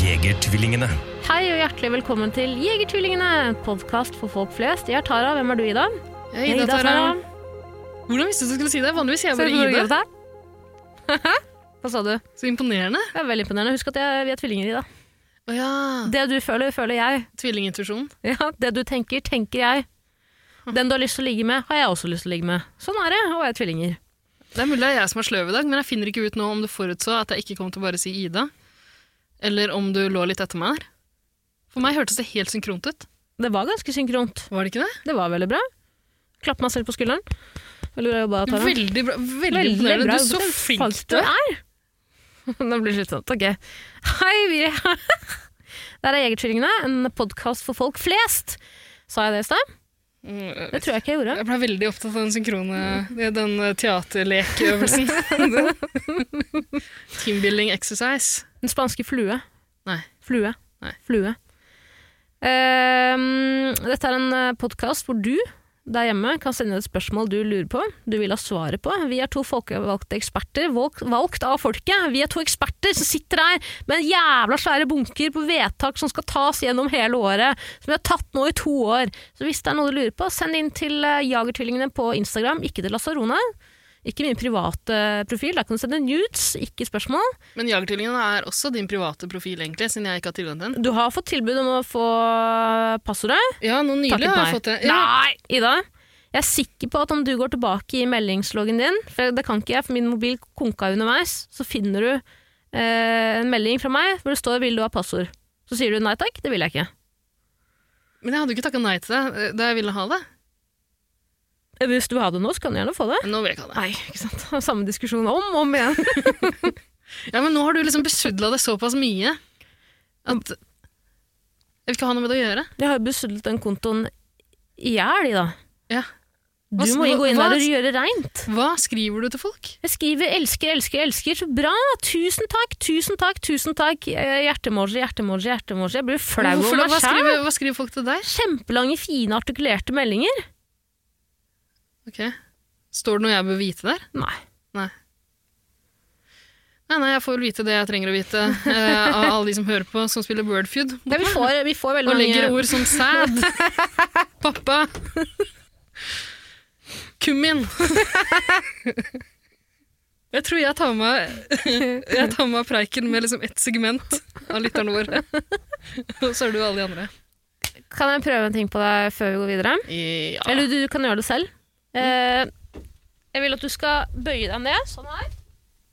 Jegertvillingene. Hei og hjertelig velkommen til Jegertvillingene, podkast for folk flest. Jeg er Tara. Hvem er du, Ida? Hei, Ida Tara. Hvordan visste du du skulle si det? Vanligvis sier jeg Ser du bare på Ida. Ida? Hva sa du? Så imponerende. Det er veldig imponerende. Husk at jeg, vi er tvillinger, Ida. Å ja. Det du føler, føler jeg. Tvillingintuisjon. Ja, det du tenker, tenker jeg. Den du har lyst til å ligge med, har jeg også lyst til å ligge med. Sånn er det å være tvillinger. Det er mulig det er jeg som er sløv i dag, men jeg finner ikke ut nå om du forutså at jeg ikke kom til å bare si Ida, eller om du lå litt etter meg her. For meg hørtes det helt synkront ut. Det var ganske synkront. Var det ikke det? Det var veldig bra. Klapp meg selv på skulderen. Veldig bra jobba, Tara. Veldig bra. Veldig, imponerende. Du er så flink faktisk du er. er. Nå blir det slitsomt. Ok. Hei, vi er her. Der er Jegertvillingene, en podkast for folk flest. Sa jeg det i stad? Mm, Det tror jeg ikke jeg gjorde. Jeg ble veldig opptatt av den synkrone, den eh, teaterlekøvelsen. Teambuilding exercise. Den spanske flue. Nei. Flue. Nei. Flue. Ehm, dette er en podkast hvor du der hjemme kan sende et spørsmål du lurer på, du vil ha svaret på. Vi er to folkevalgte eksperter, valgt, valgt av folket. Vi er to eksperter som sitter her med en jævla svære bunker på vedtak som skal tas gjennom hele året, som vi har tatt nå i to år. Så hvis det er noe du lurer på, send inn til eh, Jagertvillingene på Instagram, ikke til Lasarone. Ikke min private eh, profil, der kan du sende nudes, ikke spørsmål. Men Jagertvillingene er også din private profil, egentlig, siden jeg ikke har tilgang til den. Du har fått tilbud om å få passordet. Ja, nå nylig Takket har nei. jeg fått det. Ja. Nei, Ida. Jeg er sikker på at om du går tilbake i meldingsloggen din, for det kan ikke jeg, for min mobil konka underveis, så finner du eh, en melding fra meg hvor det står 'vil du ha passord'. Så sier du nei takk, det vil jeg ikke. Men jeg hadde jo ikke takka nei til det eh, da jeg ville ha det. Eh, Hvis du vil ha det nå, så kan du gjerne få det. Men Nå vil jeg ikke ha det. Nei, ikke sant. Samme diskusjon om og om igjen. Ja, Men nå har du liksom besudla det såpass mye at jeg vil ikke ha noe med det å gjøre. Jeg har jo besudlet den kontoen i hjel, Ida. Ja. Du Hva- må jo gå inn hva- der og gjøre reint. Hva skriver du til folk? Jeg skriver 'elsker, elsker, elsker'. Så bra! Tusen takk, tusen takk, tusen takk. Eh, Hjertemoji, hjertemoji, hjertemoji. Jeg blir flau Hvorfor- over meg hva, sjæl. skriver, hva skriver folk til deg? Kjempelange, fine, artikulerte meldinger. Ok. Står det noe jeg bør vite der? Nei. Nei. Nei, nei, jeg får vel vite det jeg trenger å vite eh, av alle de som hører på, som spiller Wordfeud. Ja, vi, får, vi får veldig Og legger mange ord som sæd. Pappa. Kummin. Jeg tror jeg tar med Jeg tar med preiken med liksom ett segment av lytterne våre. Og så er du alle de andre. Kan jeg prøve en ting på deg før vi går videre? Ja. Eller du, du kan gjøre det selv. Eh, jeg vil at du skal bøye deg ned, sånn her,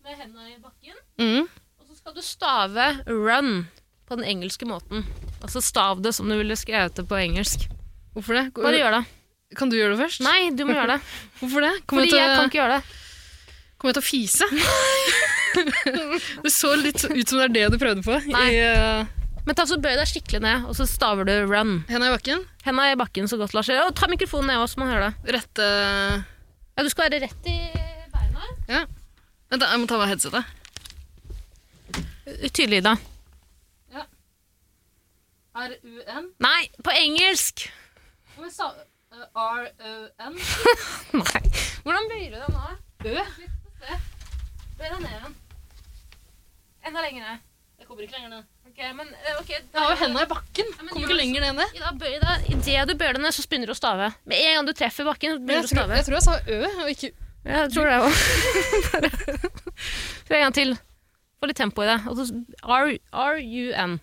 med hendene i bakken. Mm. Og så skal du stave 'run' på den engelske måten. Altså stav det som du ville skrevet det på engelsk. Hvorfor det? Bare gjør det. Kan du gjøre det først? Nei, du må gjøre det. Hvorfor det? Kommer Fordi jeg, til, jeg å- kan ikke gjøre det. kommer jeg til å fise? Det så litt ut som det er det du prøvde på. Nei. I, eh, Men ta så bøy deg skikkelig ned, og så staver du 'run'. Henda i bakken. Henda i bakken så godt lar seg. Og ta mikrofonen ned også, så man hører det. Rette Ja, du skal være rett i beina. Ja. Vent, da, jeg må ta av meg headsetet. Tydelig, Ida. R-U-N? Nei, på engelsk! uh, R-O-N? Nei. Hvordan bøyer du deg nå? Ø? Bøy deg ned igjen. Enda lenger ned. Jeg kommer ikke lenger ned. Ok, men eh, ok. Jeg har jo henda i bakken. Ja, men Kommer gjør ikke det lenger ned enn det. Ida, bøy deg. Idet du bøyer deg ned, så begynner du å stave. Med en gang du treffer bakken, så Jeg begynner du å tror, stave. jeg tror jeg sa ø, og ikke Jeg tror det òg. Prøv en gang til. Få litt tempo i det. Og så R- R-U-N.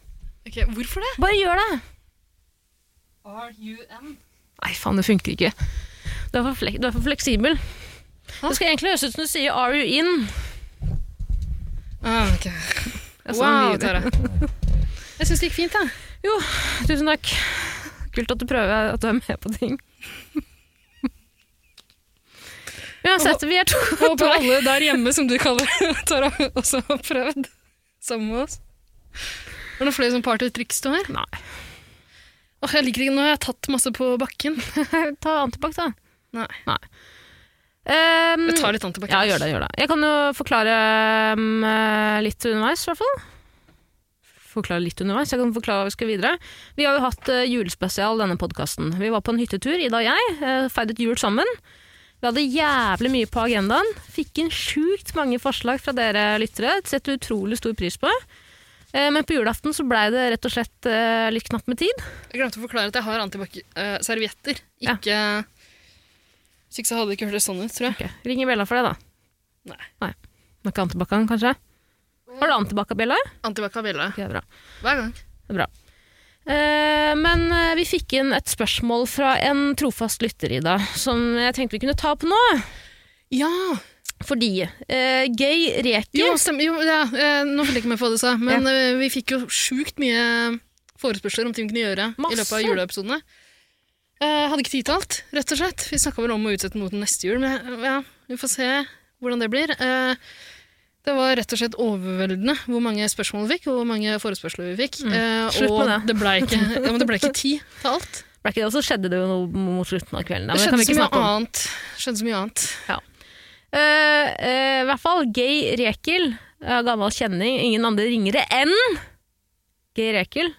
Ok, Hvorfor det? Bare gjør det! R-U-N. Nei, faen, det funker ikke. Du er for, flek du er for fleksibel. Det skal egentlig høres ut som du sier 'are you in'? Ah, ok. Jeg sa Wow, det Tara. nylig. Jeg syns det gikk fint, jeg. Tusen takk. Kult at du prøver at du er med på ting. Uansett, vi er to Jeg Håper alle der hjemme, som du kaller Tara, også har sånn prøvd sammen med oss. Er det noen flere sånne partytriks du har? Nei. Åh, jeg liker ikke Nå har jeg tatt masse på bakken. Ta antibac, da. Nei. Um, Jeg tar litt antibac. ja, gjør det, gjør det. Jeg kan jo forklare um, eh, litt underveis, i hvert fall. Forklare litt underveis. Jeg kan forklare hva vi skal videre. Vi har jo hatt eh, julespesial denne podkasten. Vi var på en hyttetur, Ida og jeg. eh, feiret jul sammen. Vi hadde jævlig mye på agendaen. Fikk inn sjukt mange forslag fra dere lyttere. Det setter vi utrolig stor pris på. Eh, men på julaften så blei det rett og slett eh, litt knapt med tid. Jeg glemte å forklare at jeg har antibac-servietter. Ja. Ikke Hvis ikke så hadde det ikke hørt det sånn ut, tror jeg. Ok, Ring i bjella for det, da. Nei. Nei. Nå er ikke antibac-en, kanskje? Har du antibac-bjella? Antibac har bjella Okay, bra. hver gang. Det er bra. Eh, men eh, vi fikk inn et spørsmål fra en trofast lytter, Ida, som jeg tenkte vi kunne ta opp nå. Ja! Fordi eh, gay reker Jo, stemmer. Jo, ja. eh, Nå følte jeg ikke med på hva du sa, men eh, vi fikk jo sjukt mye forespørsler om ting vi kunne gjøre i løpet Masse. av juleepisodene. Eh, hadde ikke tid til alt, rett og slett. Vi snakka vel om å utsette noe til neste jul, men eh, ja, vi får se hvordan det blir. Eh, det var rett og slett overveldende hvor mange spørsmål vi fikk, og hvor mange forespørsler vi fikk. Eh, Mm. Slutt og med det. ble ikke, ja, men det ble ikke tid til alt. Ble ikke det, og så skjedde det jo noe mot slutten av kvelden. da, Men Det det kan skjedde vi ikke så mye snakke om. annet. Skjedde så mye annet. Eh, eh, I hvert fall Gay Rekel, eh, gammel kjenning, ingen andre ringere enn Gay Rekel,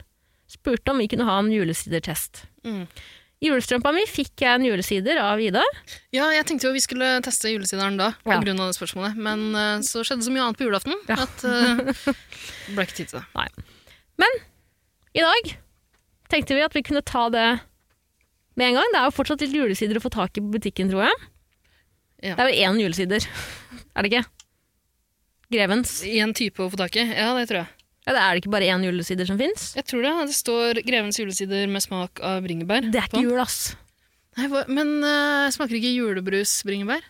spurte om vi kunne ha en julesidertest. Mm. I julestrømpa mi fikk jeg en julesider av Ida. Ja, jeg tenkte jo vi skulle teste julesideren da, på Ja. grunn av det spørsmålet. Men eh, så skjedde så mye annet på julaften Ja. at eh, det ble ikke tid til det. I dag tenkte vi at vi kunne ta det med en gang. Det er jo fortsatt litt julesider å få tak i på butikken, tror jeg. Ja. Det er jo én julesider, er det ikke? Grevens. Én type å få tak i. Ja, det tror jeg. Ja, det er det ikke bare én julesider som fins? Jeg tror det. Det står 'Grevens julesider med smak av bringebær'. Det er på ikke den. jul, ass. Nei, hva, men eh, smaker ikke julebrus bringebær?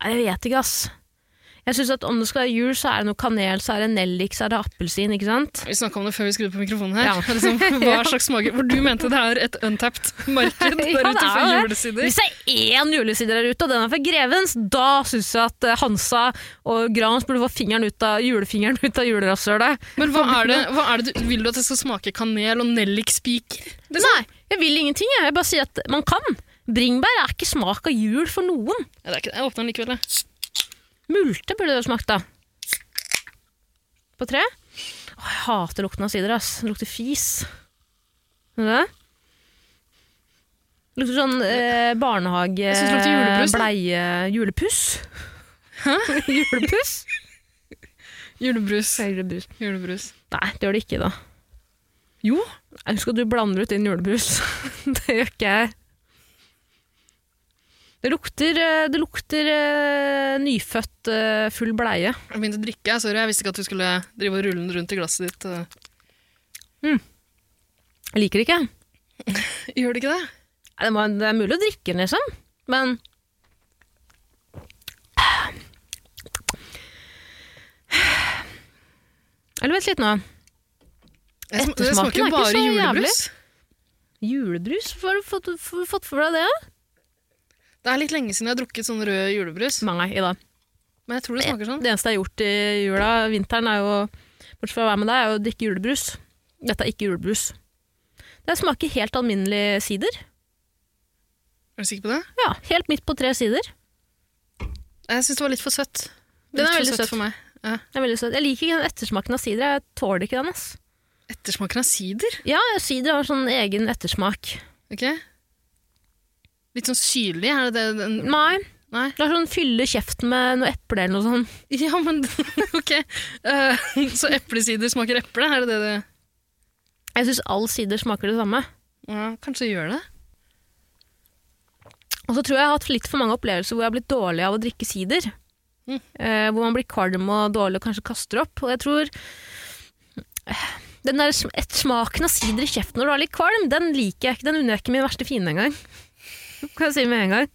Nei, Jeg vet ikke, ass. Jeg synes at Om det skal være jul, så er det noe kanel, så er det nellik, så er det appelsin. ikke sant? Vi snakka om det før vi skrudde på mikrofonen her. Ja. Liksom, hva slags smaker For du mente det er et untapped marked Ja, der det ute for er jo det. julesider. Hvis det er én julesider der ute, og den er fra Grevens, da syns jeg at eh, Hansa og Grans burde få fingeren ut av, julefingeren ut av julerasshølet. Men hva er det, hva er det du, vil du at det skal smake kanel og nellikspiker? Det- Nei, jeg vil ingenting. Jeg, jeg bare sier at man kan. Bringebær er ikke smak av jul for noen. Ja, det er ikke det. Jeg åpner den likevel, jeg. Multe burde det jo smakt, da. På tre? Å, jeg hater lukten av sider, ass. Det lukter fis. Ser du det? Det Lukter sånn eh, barnehage... Jeg synes det lukter julebrus, da. Bleie... Julepuss? Hæ? julepuss? Julebrus. Julebrus. Julebrus. Nei, det gjør det ikke, da. Jo. Nei, Husk at du blander ut din julebrus. det gjør ikke jeg. Det lukter, eh, det lukter eh, nyfødt, eh, full bleie. Jeg begynte å drikke. jeg. Sorry, jeg visste ikke at du skulle drive og rulle den rundt i glasset ditt. eh. Jeg liker det ikke. Nei, Gjør du ikke det? Det, må, det er mulig å drikke den, liksom, men Eller vent litt nå. Jeg sm- Det Ettersmaken smaker jo er ikke bare så julebrus. Julebrus? Hvorfor har du fått, f- fått for deg det? da? Det er litt lenge siden jeg har drukket sånn rød julebrus, Nei, Ida. men jeg tror det smaker sånn. Det eneste jeg har gjort i jula, vinteren, er jo bortsett fra å være med deg, er jo å drikke julebrus. Dette er ikke julebrus. Det smaker helt alminnelig sider. Er du sikker på det? Ja, Helt midt på tre sider. Jeg syns det var litt for søtt. Den Litt er for veldig søt. for meg. Det er veldig søt. Jeg liker ikke den ettersmaken av sider. Jeg tåler ikke den. ass. Ettersmaken av sider? Ja, sider har sånn egen ettersmak. Ok. Litt sånn syrlig, er det det den Nei, Nei? det er sånn fylle kjeften med noe eple eller noe sånt. Ja, men ok. Eh, så eplesider smaker eple, er det det det Jeg syns all sider smaker det samme. Ja, kanskje det gjør det? Og så tror jeg jeg har hatt litt for mange opplevelser hvor jeg har blitt dårlig av å drikke sider. Mm. Eh, hvor man blir kvalm og dårlig og kanskje kaster opp. Og jeg tror eh, den der sm- et smaken av sider i kjeften når du er litt kvalm, den liker jeg ikke. Den unner jeg ikke min verste fiende engang. Det Kan jeg si med en gang.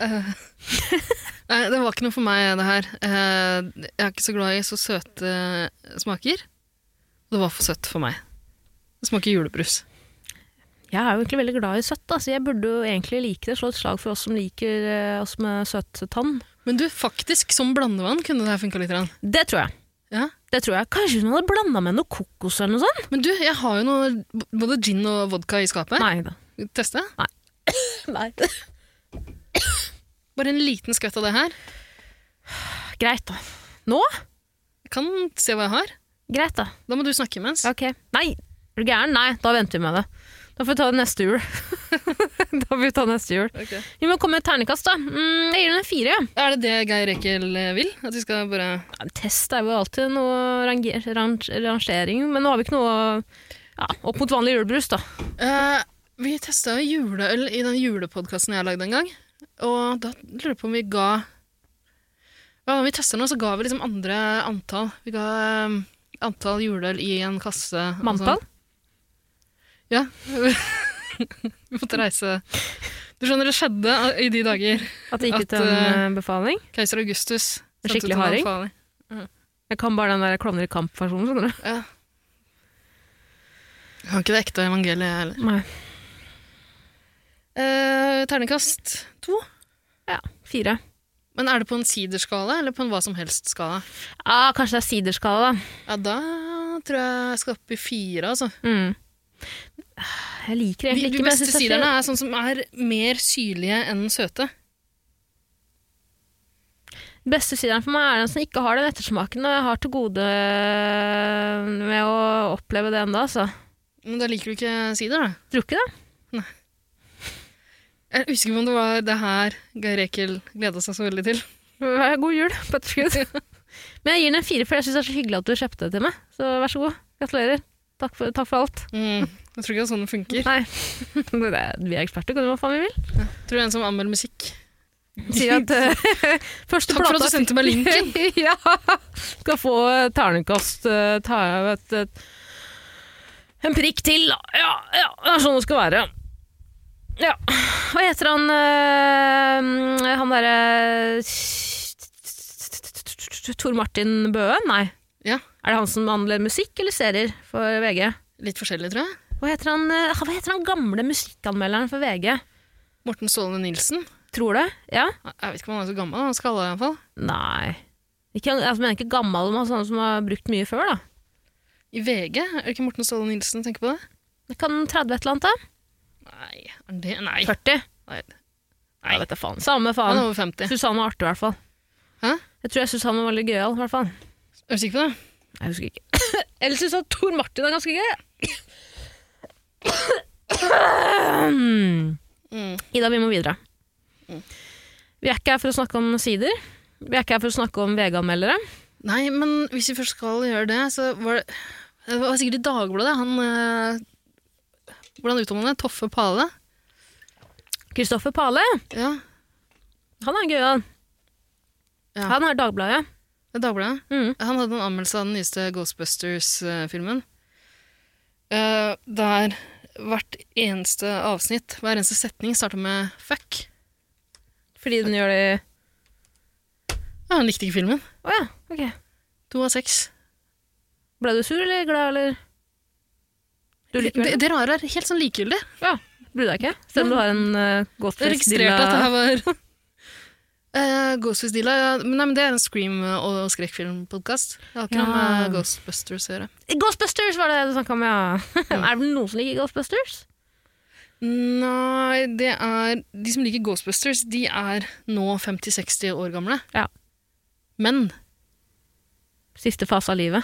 Eh, Nei, det var ikke noe for meg, det her. Eh, Jeg er ikke så glad i så søte smaker. Det var for søtt for meg. Det smaker julebrus. Jeg er jo egentlig veldig glad i søtt, da, så jeg burde jo egentlig like det. Slå et slag for oss som liker eh, oss med søt tann. Men du, faktisk, som blandevann kunne det her funka litt. grann. Det tror jeg. Ja? Det tror jeg. Kanskje hun hadde blanda med noe kokos eller noe sånt? Men du, jeg har jo noe, b- både gin og vodka i skapet. Nei da. Teste? Nei. Bare en liten skvett av det her. Greit, da. Nå? Jeg kan se hva jeg har. Greit, da. Da må du snakke imens. Ok. Nei, er du gæren? Nei, da venter vi med det. Da får vi ta det neste jul. da får vi ta neste jul. Ok. Vi må komme med et ternekast, da. Mm, jeg gir den en fire. Er det det Geir Ekel eh, vil? At vi skal bare Ja, Test er jo alltid noe ranger, range, rangering, men nå har vi ikke noe ja, opp mot vanlig julebrus, da. Eh, Vi testa jo juleøl i den julepodkasten jeg lagde en gang. Og da lurer jeg på om vi ga Hva om vi testa nå, så ga vi liksom andre antall. Vi ga eh, antall juleøl i en kasse. og sånn. Manntall. Ja. vi måtte reise Du skjønner, det skjedde i de dager. At det gikk At, ut en eh, eh, befaling. Keiser Augustus. En sendte ut skikkelig en harding? befaling. Jeg kan bare den der klovner i kamp-versjonen, skjønner du. Ja. Jeg har ikke det ekte evangeliet, jeg heller. Nei. Eh, terningkast to. Ja, fire. Men er det på en siderskala eller på en hva som helst-skala? Ah, kanskje det er siderskala, da. Ja, da tror jeg jeg skal opp i fire, altså. Mm. Jeg liker De, egentlig de ikke men jeg beste synes det er siderne er sånn som er mer syrlige enn søte. Den beste sideren for meg er den som ikke har den ettersmaken, og jeg har til gode øh, med å oppleve det ennå, altså. Men da liker du ikke sider, da. Tror ikke det. Jeg husker ikke om det var det her Geir Ekel gleda seg så veldig til. Vær God jul på etterskudd. Men jeg gir den en fire, for jeg syns det er så hyggelig at du kjøpte det til meg. Så vær så god. Gratulerer. Takk for, takk for alt. Mm. Jeg tror ikke det er sånn det funker. Nei, det er, vi er eksperter, kan du hva faen vi vil? Tror det er en som anmelder musikk. Sier at eh, første Takk for at du plata sendte meg linken! ja! Skal få et terningkast eh, ta et, et, En prikk til, da. Ja, ja, det er sånn det skal være. Ja. Hva heter han eh, Han derre Tor Martin Bøe? Nei. Ja. Er det han som anmelder musikk eller serier for VG? Litt forskjellig, tror jeg. Hva heter han, eh, hva heter han gamle musikkanmelderen for VG? Morten Ståle Nilsen. Tror det? Ja? Jeg vet ikke om han er så gammel, han skal i hvert fall. Nei. Ikke, jeg mener ikke gammel, men sånne som har brukt mye før, da. I VG, er det ikke Morten Ståle Nilsen tenker på det? Det kan 30 et eller annet, da. Nei, er det Nei. 40? Nei. Nei, vet du faen. Samme Han er faen. over 50. Susanne var artig, i hvert fall. Hæ? Jeg tror jeg Susanne var veldig gøyal, i hvert fall. Er du sikker på det? Jeg husker ikke. Ellers syns jeg Tor Martin er ganske gøy. Mm. Ida, vi må videre. Mm. Vi er ikke her for å snakke om sider. Vi er ikke her for å snakke om VG-anmeldere. Nei, men hvis vi først skal gjøre det, så var det Det var sikkert i Dagbladet, han eh, Hvordan uttaler man det? Toffe Pale? Kristoffer Pale, Ja, han er gøyal. Ja. Han er Dagbladet. det er Dagbladet. Mm. Han hadde en anmeldelse av den nyeste Ghostbusters-filmen. der hvert eneste avsnitt, hver eneste setning, starta med 'fuck'. Fordi den gjør det Ja, han likte ikke filmen. Å ja, ok. To av seks. Ble du sur eller glad, eller? Du liker Det, vel? det rare er helt sånn likegyldig. Ja, bryr deg ikke. Selv om du har en uh, Jeg registrerte at det her var Eh, Ghostface Dilla ja. Men Nei, men det er en Scream- og skrekkfilmpodkast. Det har ikke noe Ja. med Ghostbusters å gjøre. Ghostbusters var det du snakka om, ja. er det noen som liker Ghostbusters? Nei, det er De som liker Ghostbusters, de er nå 50-60 år gamle. Ja. Men Siste fase av livet.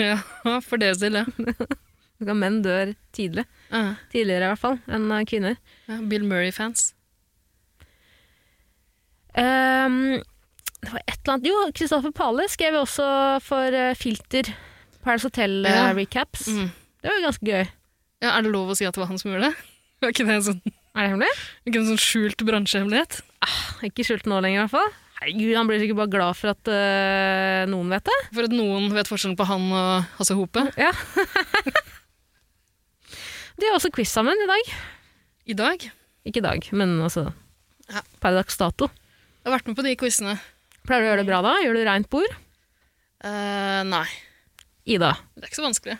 Ja, for deres del, ja. Hvor Menn dør tidlig. Ja, Tidligere i hvert fall enn eh, kvinner. ja, Bill Murray-fans. Ehm, det var et eller annet Jo, Kristoffer Pale skrev jo også for eh, Filter. Paris Ja. Hotel-recaps. Mm. Det var jo ganske gøy. Ja, er det lov å si at det var han som gjorde det? Var ikke det en sånn, Er det hemmelig? ikke en sånn skjult bransjehemmelighet? Ikke skjult nå lenger, i hvert fall. Herregud, han blir sikkert bare glad for at eh, noen vet det. For at noen vet forskjellen på han og Hasse Hope. Ja. De har også quiz sammen i dag. I dag Jeg Ikke i dag, men altså Ja. per dags dato. har vært med på de quizene. Pleier du å gjøre det bra da? Gjør du reint bord? Eh, nei, Ida. det er ikke så vanskelig.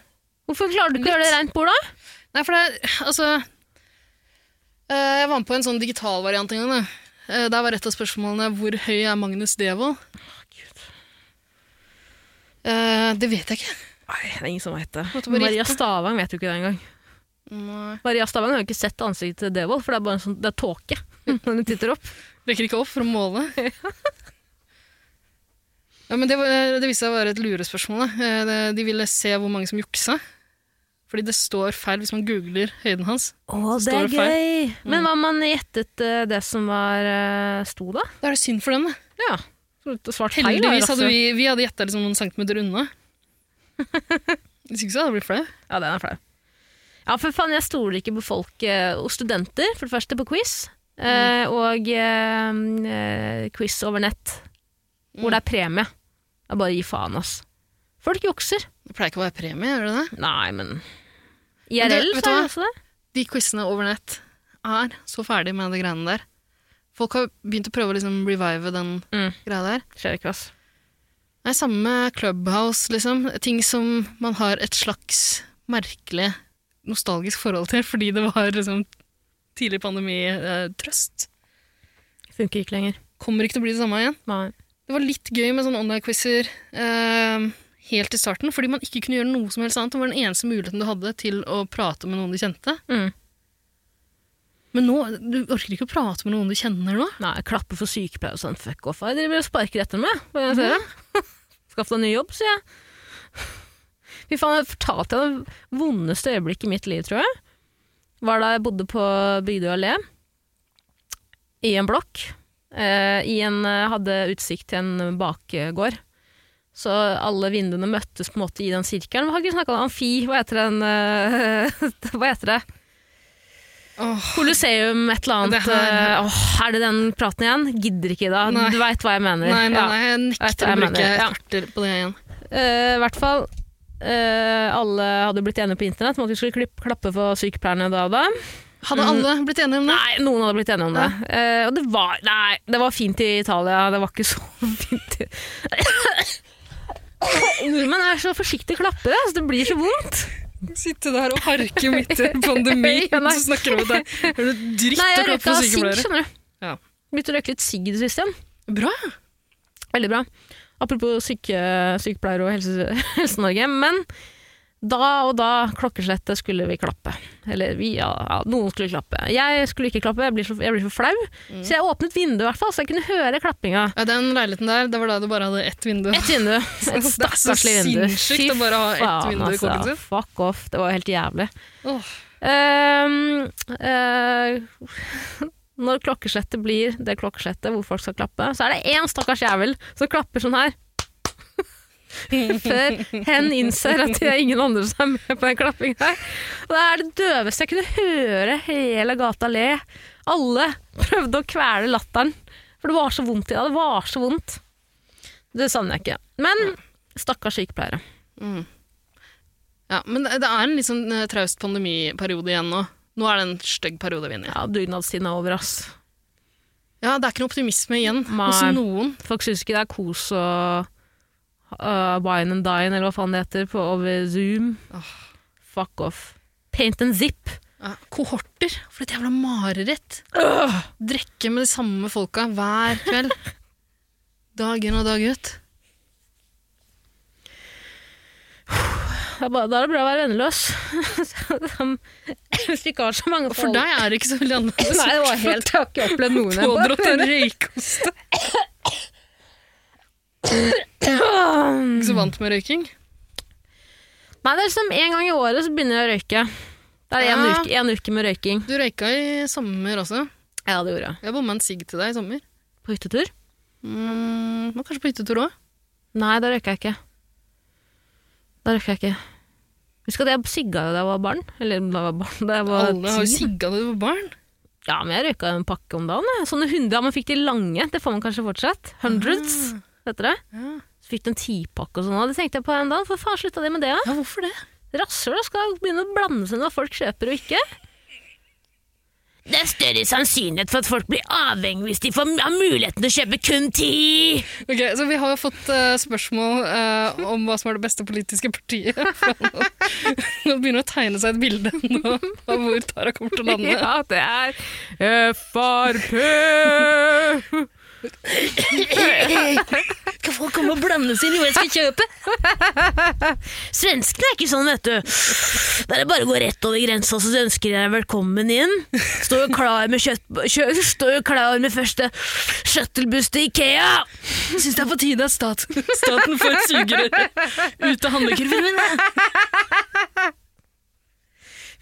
Hvorfor klarer du ikke å gjøre det reint bord, da? Nei, for det er Altså eh, Jeg var med på en sånn digital variant en gang. da. Eh, der var et av spørsmålene 'Hvor høy er Magnus Devold?' Eh, det vet jeg ikke. Nei, det er ingen som vet det. Måtte bare Maria gjette. Stavang vet jo ikke det engang. Nei. Maria Stavang har jo ikke sett ansiktet til Devold, for det er bare en sånn, det er tåke når hun titter opp. Rekker ikke opp for å måle. Ja, men det, var, det viste seg å være et lurespørsmål. da. Eh, det- De ville se hvor mange som juksa. Fordi det står feil hvis man googler høyden hans. Å, det er gøy! Men hva om man gjettet eh, det som var eh, sto da? Da er det synd for den. da. Ja. Så Svart feil, da, altså. Heldigvis hadde Lasse. vi, vi hadde gjetta liksom noen centimeter unna. Hvis ikke så hadde jeg blitt flau. Ja, den er flau. Ja, for faen, jeg stoler ikke på folk eh, og studenter, for det første, på quiz. eh, Og eh, eh, quiz over nett, hvor det er premie. Det er bare å gi faen, ass. Folk jukser. Det pleier ikke å være premie, gjør det det? Nei, men Men det- IRL, vet du sa hva? jeg også det. De quizene over nett er så ferdig med de greiene der. Folk har begynt å prøve å liksom revive den Mm. greia der. Skjer ikke, ass. Nei, samme med Clubhouse, liksom. Ting som man har et slags merkelig nostalgisk forhold til, fordi det var liksom tidlig pandemi-trøst. Funker ikke lenger. Kommer ikke til å bli det samme igjen. Nei. Det var litt gøy med sånne online-quizer eh, helt i starten, fordi man ikke kunne gjøre noe som helst annet. Det var den eneste muligheten du hadde til å prate med noen du kjente. Mm. Men nå, du orker ikke å prate med noen du kjenner nå. Nei, klappe for sykepleier og sånn. Fuck off. Jeg driver og sparker etter meg. Hva jeg ser det? Skaff deg en ny jobb, sier jeg. Fy faen, jeg fortalte deg det vondeste øyeblikket i mitt liv, tror jeg. Var da jeg bodde på Bygdøy allé. I en blokk. Eh, I en eh, Hadde utsikt til en bakgård. Så alle vinduene møttes på en måte i den sirkelen. Vi har ikke snakka om amfi. Hva heter den eh, Hva heter det? Åh, Colosseum, et eller annet. Det her- eh, Åh, er det den praten igjen? Gidder ikke, da. Nei. Du veit hva jeg mener. nei, nei, Ja. nei, Vet jeg du hva nekter å jeg bruke mener, ja. erter på det igjen. Eh, I hvert fall, eh, alle hadde blitt enige på internett om at vi skulle klipp, klappe for sykepleierne da og da. Hadde alle blitt enige om det? Nei, noen hadde blitt enige om det. Eh, og det var, nei, det var fint i Italia, det var ikke så fint i Nordmenn er så forsiktige klappere, så det blir så vondt. Sitte der og harke midt i en pandemi, Ja, nei. og så snakker du om det. Er du dritt Nei, å jeg klappe røyka for sigg, sykepleiere? skjønner du. Ja. Begynte å røyke litt sigg i det siste. igjen. Bra. Veldig bra. Apropos syke, sykepleiere og helse, Helse-Norge. Men da og da klokkeslettet skulle vi klappe. Eller vi, ja, ja, noen skulle klappe. Jeg skulle ikke klappe, jeg blir så, jeg blir så flau. Mm. Så jeg åpnet vinduet i hvert fall, så jeg kunne høre klappinga. Ja, den leiligheten der, det var da du bare hadde ett vindu. Et vindu. Et Det er så stakkarslig vindu. sinnssykt å bare ha ett faen, altså. vindu i kåken sin. Fuck off. Det var helt jævlig. Åh, Ehm, eh, når klokkeslettet blir det klokkeslettet hvor folk skal klappe, så er det én stakkars jævel som klapper sånn her. Før hen innser at det er ingen andre som er med på den klappingen her. Og det er det døveste jeg kunne høre hele gata le. Alle prøvde å kvele latteren, for det var så vondt i det. Det var så vondt. Det savner jeg ikke. Men stakkars sykepleiere. Mm. Ja, men det det er en litt sånn eh, traust pandemiperiode igjen nå. Nå er det en stygg periode vi er inne i. Ja, dugnadstiden er over, ass. Ja, det er ikke noe optimisme igjen hos Nei. noen. Folk syns ikke det er kos å uh, wine and dine, eller hva faen det heter, på, over Zoom. Åh. Fuck off. Paint and zip. Ja, kohorter, for et jævla mareritt. Drekke med de samme folka hver kveld. Dag inn og dag ut. Det er bare- Da er det bra å være venneløs. Som- Hvis du ikke har så mange Og for deg er det ikke så veldig annerledes. Nei, det var helt Jeg har ikke opplevd noen jeg bare- Pådratt en røykoste. Ikke så vant med røyking. Nei, det er liksom en gang i året så begynner jeg å røyke. Det er en, Ja. uke, en uke med røyking. Du røyka i sommer også. Ja, det gjorde jeg. Jeg bomma en sigg til deg i sommer. På hyttetur? Mm, var kanskje på hyttetur òg. Nei, da røyka jeg ikke. Da røyka jeg ikke. Husk at jeg sigga jo da jeg var barn. Eller da jeg var barn, da jeg var Alle har jo ti. sigga da du var barn. Ja, men jeg røyka en pakke om dagen. jeg. Sånne hundre, ja, man fikk de lange. Det får man kanskje fortsatt. Hundreds, heter det. Ah. Ja. Så fikk du en tipakke og sånn, og det tenkte jeg på en dag. For faen slutta det med det, da? ja, hvorfor det? Rasshøl da, skal begynne å blande seg inn i hva folk kjøper og ikke. Det er større sannsynlighet for at folk blir avhengig hvis de får har muligheten til å kjøpe kun ti! Ok, så Vi har jo fått eh, spørsmål eh, om hva som er det beste politiske partiet. Nå begynner det å tegne seg et bilde nå, av hvor Tara kommer til å lande. Ja, det er FRP! Skal folk komme og blande seg inn i hva jeg skal kjøpe? Svenskene er ikke sånn, vet du. Der er det bare å gå rett over grensa, så ønsker jeg deg velkommen inn. Står jo klar med, kjøtt, kjø, står jo klar med første shuttlebuss til Ikea! Syns det er på tide at stat, staten får et sugerør ut av handlekurven min. jeg.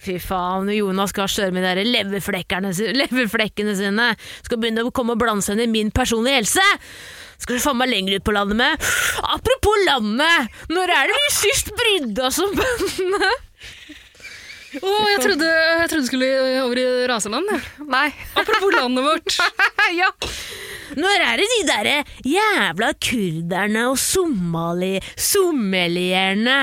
Fy faen, Jonas Gahr Støre med de der leverflekkerne si- leverflekkene sine skal begynne å komme og blande seg inn i min personlige helse! Skal du faen meg lenger ut på landet med? Apropos landet! Når er det vi sist brydde oss om bøndene? Å, jeg trodde jeg trodde du skulle over i raseland. jeg. Nei. Apropos landet vårt. ja. Når er det de derre jævla kurderne og somali... sommelierne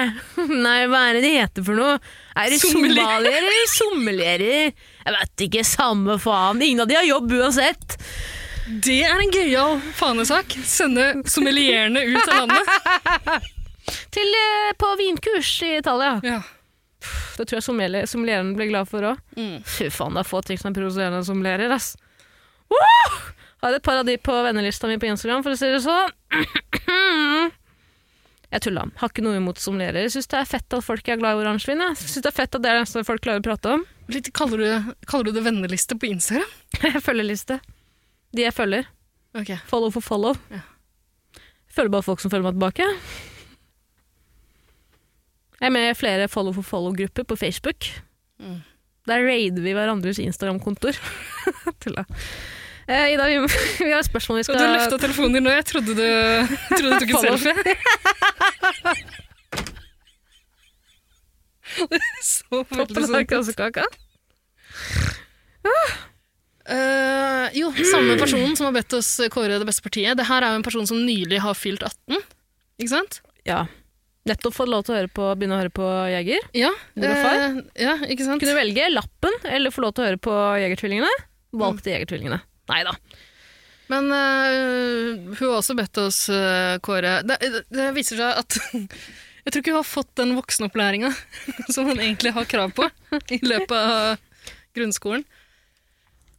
Nei, hva er det de heter for noe? Er det Sommelier. somaliere eller sommelierer? Jeg vet ikke, samme faen. Ingen av de har jobb uansett. Det er en gøyal fanesak. Sende sommelierene ut av landet. Til, eh, på vinkurs i Italia. Ja. Det tror jeg sommelier- sommelieren ble glad for òg. Mm. Fy faen, det er få ting som er provoserende enn sommelerer, ass. Woo! Har et par av de på vennelista mi på Instagram, for å si det sånn. Jeg tulla. Har ikke noe imot sommelerer. Syns det er fett at folk er glad i oransjevin. jeg. Syns det er fett at det er det eneste folk klarer å prate om. Litt, kaller, du, kaller du det venneliste på Instagram? Følgeliste. De jeg følger. Ok. Follow for follow. Ja. Følger bare folk som følger meg tilbake. Jeg er med i flere follow for follow-grupper på Facebook. Mm. Der raider vi hverandres Instagram-kontor. Tulla. Eh, Ida, vi, vi har et spørsmål vi Og skal du løfta telefonen din nå. Jeg trodde du, jeg trodde du tok en Follow. selfie. Så veldig Toppen av sånn kransekaka. Eh, jo, samme personen som har bedt oss kåre det beste partiet. Det her er jo en person som nylig har fylt 18. Ikke sant? Ja. Nettopp fått lov til å høre på, begynne å høre på Jeger. Ja. Du er far? eh, ja ikke sant? Kunne velge lappen eller få lov til å høre på Jegertvillingene. Valgte Mm. Jegertvillingene. Nei da. Men eh, hun har også bedt oss eh, kåre det, det, det viser seg at Jeg tror ikke hun har fått den voksenopplæringa som hun egentlig har krav på i løpet av grunnskolen.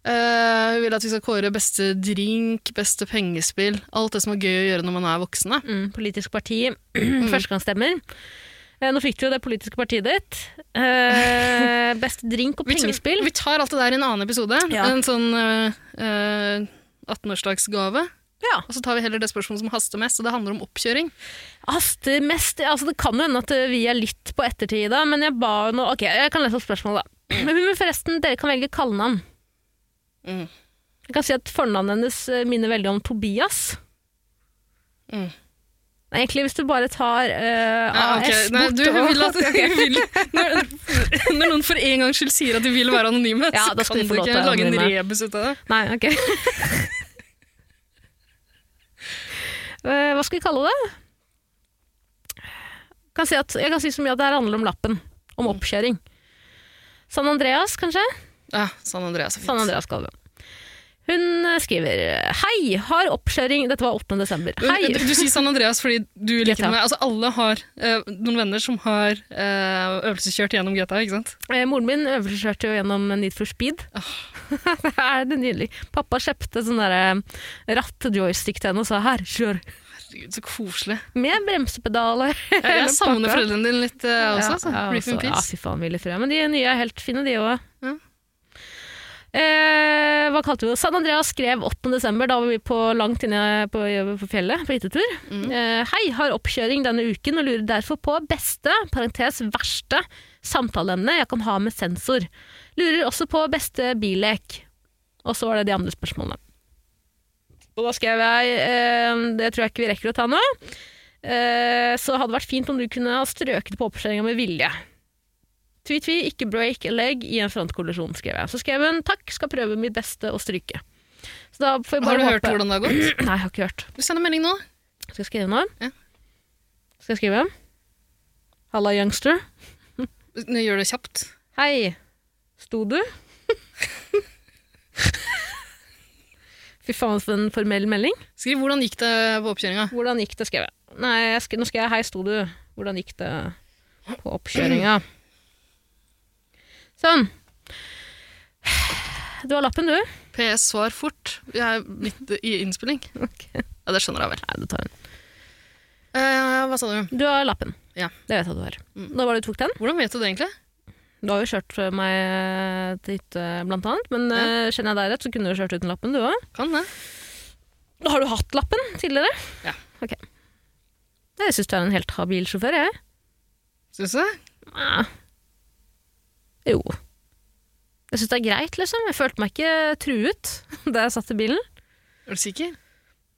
Eh, hun vil at vi skal kåre beste drink, beste pengespill, alt det som er gøy å gjøre når man er voksen. da. Mm, politisk parti. Mm. Førstegangsstemmer. Eh, Nå fikk du jo det politiske partiet ditt. Eh, beste drink og Vi tar- pengespill. Vi tar alt det der i en annen episode. Ja. En sånn eh, eh, 18-årsdagsgave. Ja. Og så tar vi heller det spørsmålet som haster mest, og det handler om oppkjøring. Haster mest altså Det kan jo hende at eh, vi er litt på ettertid, da, men jeg ba jo nå Ok, jeg kan lese opp spørsmålet, da. Men men forresten, dere kan velge kallenavn. Mm. Jeg kan si at fornavnet hennes eh, minner veldig om Tobias. Mm. Nei, Egentlig, hvis du bare tar eh, Ja, ok. AS Nei, bort du og- vil at vil, når, når noen for en gangs skyld sier at de vil være anonyme, Ja, da så skal kan de du få lov til ikke å være lage en anonyme. rebus ut av det. Nei, ok. Eh, Hva skal vi kalle det? Kan si at, jeg kan si så mye at det her handler om lappen. Om oppkjøring. San Andreas, kanskje? Ja, San Andreas er San fint. Andreas Kalve. Hun eh, skriver Hei, har oppkjøring Dette var 8. desember. Men Hei! Du, du sier San Andreas fordi du liker GTA. meg. Altså, alle har eh, noen venner som har eh, øvelseskjørt gjennom GTA, ikke sant? Eh, Moren min øvelseskjørte jo gjennom Need for speed. det er det nydelig. Pappa kjøpte sånn derre ratt-joystick til henne og sa her, kjør. Herregud, så koselig. Med bremsepedaler. Jeg, jeg savner foreldrene dine litt eh, også. altså. ja, Rip in altså, ja, peace. fy faen, ville frø. Men de nye er helt fine, de òg. Ja. Eh, hva kalte vi det? San Andreas skrev 8. desember, da var vi på langt inne på, på fjellet på hyttetur. Mm. Eh, hei, har oppkjøring denne uken og lurer derfor på beste, parentes verste, samtaleemne jeg kan ha med sensor. Lurer også på beste billek. Og så var det de andre spørsmålene. Og da skrev jeg eh, Det tror jeg ikke vi rekker å ta nå. Eh, så hadde det vært fint om du kunne ha strøket på oppskjæringa med vilje. Tvi-tvi, ikke break a leg i en frontkollisjon, skrev jeg. Så skrev hun takk, skal prøve mitt beste å stryke. Så da får vi bare Har du hørt håpe- hvordan det har gått? Nei, jeg har ikke hørt. Du sender melding nå. Skal jeg skrive nå? Ja. Skal jeg skrive? Halla, youngster. Nå gjør det kjapt. Hei, sto du? Fy faen, for en formell melding. Skriv hvordan gikk det på oppkjøringa. Hvordan gikk det, skrev jeg. Nei, jeg sk nå skrev jeg 'Hei, sto du?' Hvordan gikk det på oppkjøringa? Sånn. Du har lappen, du. PS, svar fort. Jeg er midt i innspilling. Ok. Ja, det skjønner jeg vel. Nei, du tar den. Eh, hva sa du? Du har lappen. Ja. Det vet jeg at du har. Nå var det du tok den. Hvordan vet du det egentlig? Mm. Du har jo kjørt eh, meg til hytte, blant annet. Men eh, kjenner jeg deg rett, så kunne du kjørt uten lappen, du òg. Kan det. Har du hatt lappen tidligere? Ja. Ok. Jeg syns du er en helt habil sjåfør, jeg. Syns du det? Nei. Ah. Jo. Jeg syns det er greit, liksom. Jeg følte meg ikke truet da jeg satt i bilen. Er du sikker?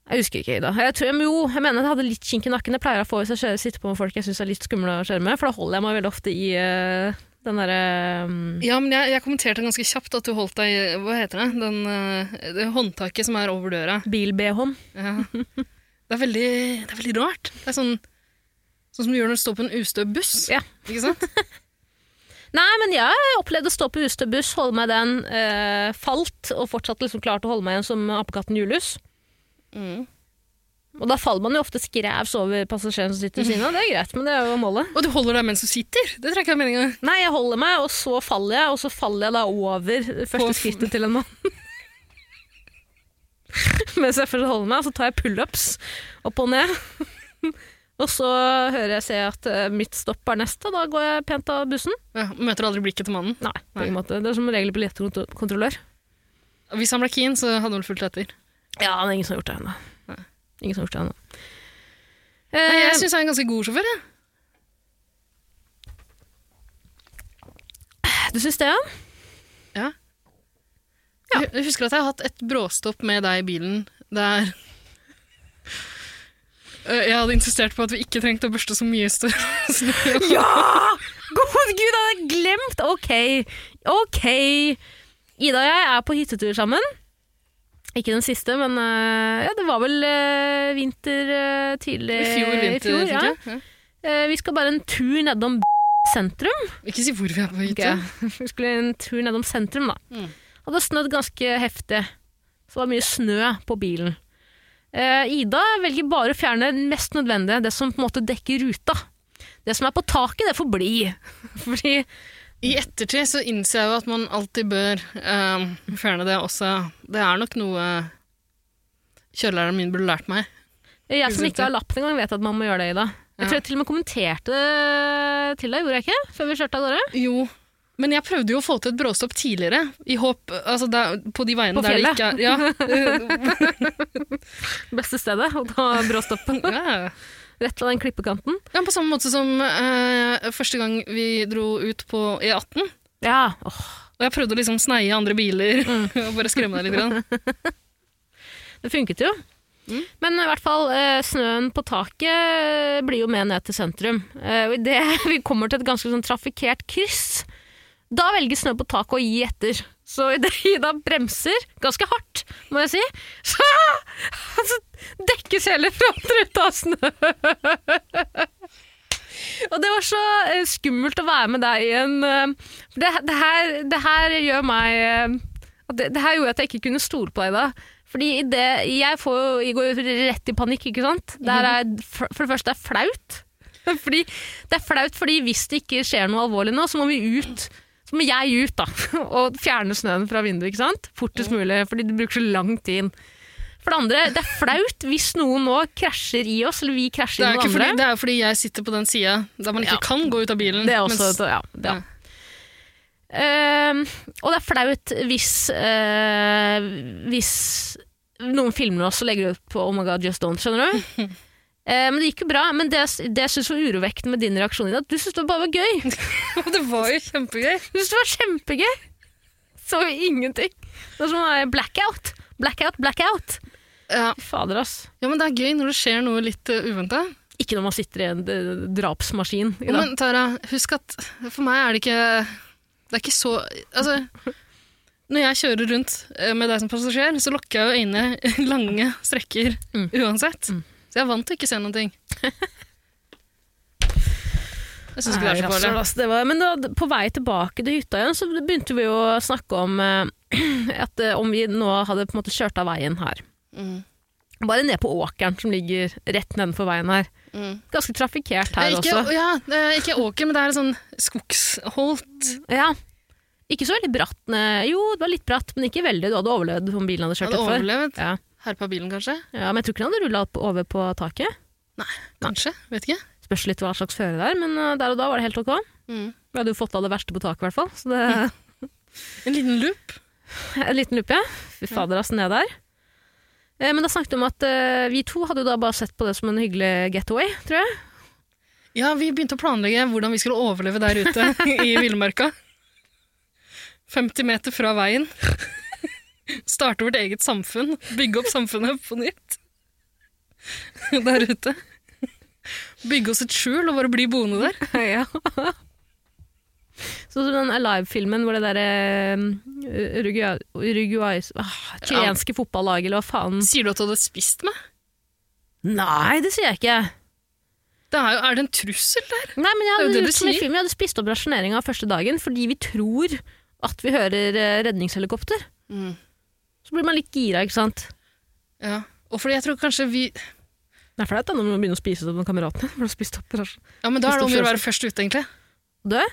Jeg husker ikke, Ida. Jeg tror, men jo, jeg mener jeg hadde litt kink i nakken. Jeg pleier å få hvis jeg kjører, sitter på med folk jeg syns er litt skumle å kjøre med, for da holder jeg meg veldig ofte i eh, den derre eh, Ja, men jeg, jeg kommenterte ganske kjapt at du holdt deg i- Hva heter det? Den, eh, det håndtaket som er over døra. bil-BH-en. Ja. Det er veldig, det er veldig rart. Det er sånn, sånn som du gjør når du står på en ustø buss. Ja. Ikke sant? Nei, men jeg opplevde å stå på ustø buss, holde meg i den, eh, falt og fortsatt liksom klarte å holde meg igjen som apekatten Julius. Mm. Og da faller man jo ofte skrevs over passasjeren som sitter ved siden av. Det er greit, men det er jo målet. Og du holder deg mens du sitter. Det tror jeg ikke er meninga. Nei, jeg holder meg, og så faller jeg, og så faller jeg da over første På- skrittet til en mann. Mens jeg først holder meg, så tar jeg pullups opp og ned. og så hører jeg se at eh, mitt stopp er neste, da går jeg pent av bussen. Ja, møter aldri blikket til mannen. Nei, på Nei. ingen måte. Det er som regel billettkontrollør. Hvis han ble keen, så hadde han vel fulgt etter. Ja, det er ingen som har gjort det ennå. Ingen som har gjort det ennå. Nei, Eh, jeg syns jeg er en ganske god sjåfør. jeg. du syns det, ja? Ja. Jeg jeg husker at jeg har hatt et bråstopp med deg i bilen der Eh, jeg hadde insistert på at vi ikke trengte å børste så mye større snø. Ja! God gud, jeg hadde glemt! Ok, ok. Ida og jeg er på hyttetur sammen. Ikke den siste, men øh, ja, det var vel øh, vinter øh, tidlig I fjor vinter, i fjor, ja. tenker jeg. Eh, vi skal bare en tur nedom sentrum. Ja. Ikke si hvor vi er på hytte. Ok. Vi skulle en tur nedom sentrum, da. Mm. Og det snødd ganske heftig. Så det var mye snø på bilen. Eh, Ida velger bare å fjerne det mest nødvendige, det som på en måte dekker ruta. Det som er på taket, det får bli. Fordi I ettertid så innser jeg jo at man alltid bør eh, fjerne det også. Det er nok noe kjørelæreren min burde lært meg. jeg som ikke har lappen engang, vet at man må gjøre det, Ida. Jeg Ja. tror jeg til og med kommenterte det til deg, gjorde jeg ikke? Før vi kjørte av gårde? Jo, men jeg prøvde jo å få til et bråstopp tidligere, i håp altså der, På de veiene På der det ikke er ja, Beste stedet å ta bråstoppen. ja, ja, ja. Rett av den klippekanten. ja, På samme måte som eh, første gang vi dro ut på E18. Ja, åh. Og jeg prøvde å liksom sneie andre biler Mm. og bare skremme deg litt. Grann. Det funket jo. Men i hvert fall, eh, snøen på taket eh, blir jo med ned til sentrum. Eh, og Idet vi kommer til et ganske sånn trafikkert kryss, da velger snø på taket å gi etter. Så idet Ida bremser, ganske hardt, må jeg si, så, så dekkes hele frontruta av snø. Og det var så eh, skummelt å være med deg i en eh, For det, det, her, det her gjør meg eh, at det, det her gjorde at jeg ikke kunne stole på deg da. Fordi i det, jeg, får, jo- jeg går jo rett i panikk, ikke sant? Det her Mhm. er, for for det første er det flaut. Fordi, det er flaut fordi hvis det ikke skjer noe alvorlig nå, så må vi ut. Så må jeg ut da, og fjerne snøen fra vinduet, ikke sant? Fortest mulig, fordi det bruker så lang tid. For det andre, det er flaut hvis noen nå krasjer i oss, eller vi krasjer Det i er jo noen andre. fordi, det er jo fordi jeg sitter på den sida der man ikke Ja. kan gå ut av bilen. Det er også, mens- et- ja, det, ja. Ja. Mm. Ehm, og det er flaut hvis, eh, hvis noen filmer oss og legger det ut på Oh my god, just don't, skjønner du? Eh, men det gikk jo bra. Men det, det jeg synes var urovekkende med din reaksjon, Ida, at du syntes det bare var gøy. det var jo kjempegøy. Du syntes det var kjempegøy. Så jo ingenting. Det var som en blackout. Blackout, blackout. Ja. Fy Fader, ass. Ja, men det er gøy når det skjer noe litt uh, uventa. Ikke når man sitter i en eh, drapsmaskin. Ida. Men Tara, husk at for meg er det ikke Det er ikke så Altså, når jeg kjører rundt eh, med deg som passasjer, så lokker jeg jo øynene lange strekker Mm. uansett. Så jeg er vant til å ikke se noen ting. Jeg syns ikke det er så Nei, farlig. rasshøl, ass, det var, men da, på vei tilbake til hytta igjen, så begynte vi jo å snakke om eh, at eh, om vi nå hadde på en måte kjørt av veien her. Mm. Bare ned på åkeren som ligger rett nedenfor veien her. Mm. Ganske trafikkert her Eh, Ikke, også. ja, eh, ikke åker, men det er en sånn skogsholt. Ja. Ikke så veldig bratt. nei. Jo, det var litt bratt, men ikke veldig. Du hadde overlevd om bilen hadde Jeg kjørt hadde utfor. overlevd. Ja. Herpa bilen, kanskje? ja, Men jeg tror ikke den hadde rulla over på taket. Kanskje. Vet ikke. Spørs litt hva slags føre det er, men eh, der og da var det helt ok. Mm. Vi hadde jo fått av det verste på taket, i hvert fall. Så det En liten loop. En liten lupe, ja. Fy fader, ass, ned der. Eh, Men da snakket vi om at eh, vi to hadde jo da bare sett på det som en hyggelig getaway, tror jeg. Ja, vi begynte å planlegge hvordan vi skulle overleve der ute i villmarka. 50 meter fra veien. Starte vårt eget samfunn. Bygge opp samfunnet på nytt. Der ute. Bygge oss et skjul og bare bli boende der. ja. Sånn som den Alive-filmen hvor det derre Uruguay... Uruguay ah, chilenske fotballaget, eller hva faen. Sier du at du hadde spist meg? Nei, det sier jeg ikke. Det er, jo, er det en trussel der? Nei, men jeg Det er jo hadde, det du gjort som i sier. film, jeg hadde spist opp rasjoneringa første dagen fordi vi tror at vi hører eh, redningshelikopter. Så blir man litt gira, ikke sant. Ja. Og fordi jeg tror kanskje vi Det er flaut da, når man begynner å spise opp med kameratene. for å spise opp rasjon- Ja, men da er det om å gjøre å Forstår være først ute, egentlig. Dø?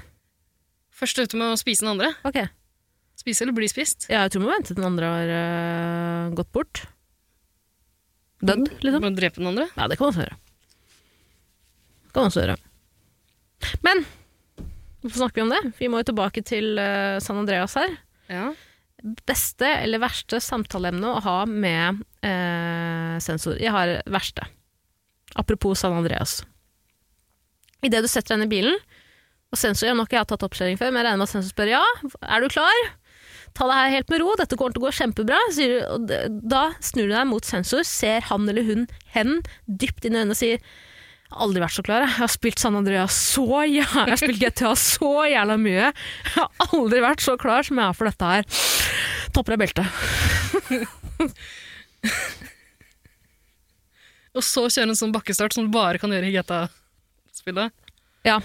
Først ute med å spise den andre. Ok. Spise eller bli spist. Ja, jeg tror vi må vente til den andre har øh, gått bort. Dødd, liksom. Må drepe den andre. Ja, det kan man også gjøre. Det kan man også gjøre. Men hvorfor snakker vi om det? Vi må jo tilbake til øh, San Andreas her. Ja. Beste eller verste samtaleemne å ha med øh, sensor. Jeg har verste. Apropos San Andreas. Idet du setter deg inn i bilen, og sensor jeg har nok ikke jeg tatt oppkjøring før, men jeg regner med at sensor spør ja, er du klar? Ta det her helt med ro, dette kommer til å gå kjempebra. Sier du, og d- da snur du deg mot sensor, ser han eller hun hen dypt inn i øynene og sier «Jeg har Aldri vært så klar. jeg. Jeg har spilt San Andreas så jævla Jeg har spilt GTA så jævla mye. Jeg har aldri vært så klar som jeg er for dette her. Ta på deg beltet. Og så kjøre en sånn bakkestart som du bare kan gjøre i GTA-spillet. Ja.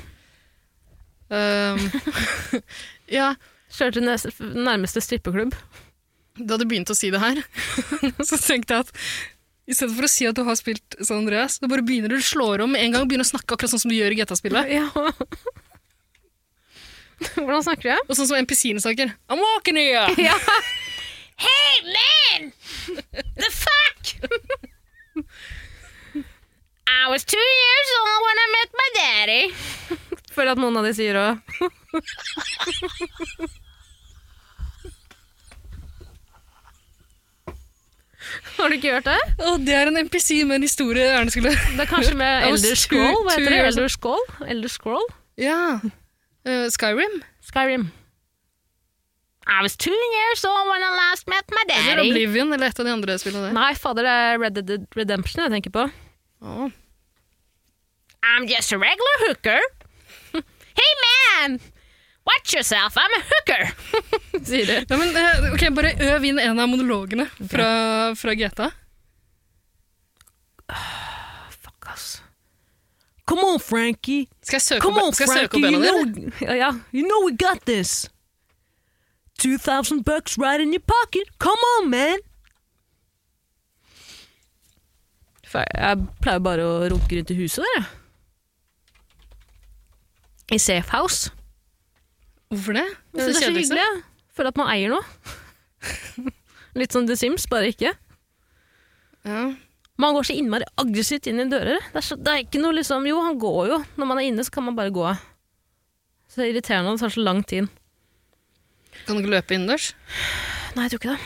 Um, ja, Kjører til nes- nærmeste strippeklubb. da du begynte å si det her, så tenkte jeg at i stedet for å si at du har spilt San Andreas, så bare begynner du å slå om med en gang og begynner å snakke akkurat sånn som du gjør i GTA-spillet. Ja. Hvordan snakker jeg? Og sånn som NPC-ene snakker. I'm walking here! Ja. The fuck? I was two years old when I met my daddy. Føler at noen av de sier òg. Har du ikke hørt det? Og det er en NPC med en historie Erne skulle Det er kanskje med Jeg var Elder sur- Scroll. Hva heter det? tur, altså. Elder Scroll? Elder Scroll? Ja. Eh, Skyrim. Skyrim. I was two years old when I last met my Eller daddy. Oblivion, eller et av de andre spillene der. Nei, fader, det er Red Dead Redemption jeg tenker på. Å. I'm just a regular hooker. hey man, watch yourself, I'm a hooker. Sier du. Ja, men, eh, ok, bare øv inn en av monologene fra, fra GTA. Fuck, ass. Come on, Frankie. Skal jeg søke Come opp, on, skal jeg søke Frankie. You opp en av dere? know, ja, ja. you know we got this. 2000 bucks right in your pocket. Come on, man. Jeg pleier bare å runke rundt i huset der, jeg. I safe house. Hvorfor det? Jeg synes det er så kjedeligste. hyggelig. jeg. Føler at man eier noe. Litt som The Sims, bare ikke. Ja. Man går så innmari aggressivt inn i dører. Det er, så, det er ikke noe liksom Jo, han går jo. Når man er inne, så kan man bare gå. Så det er irriterende at det tar så lang tid. Kan du ikke løpe innendørs? Nei, jeg tror ikke det.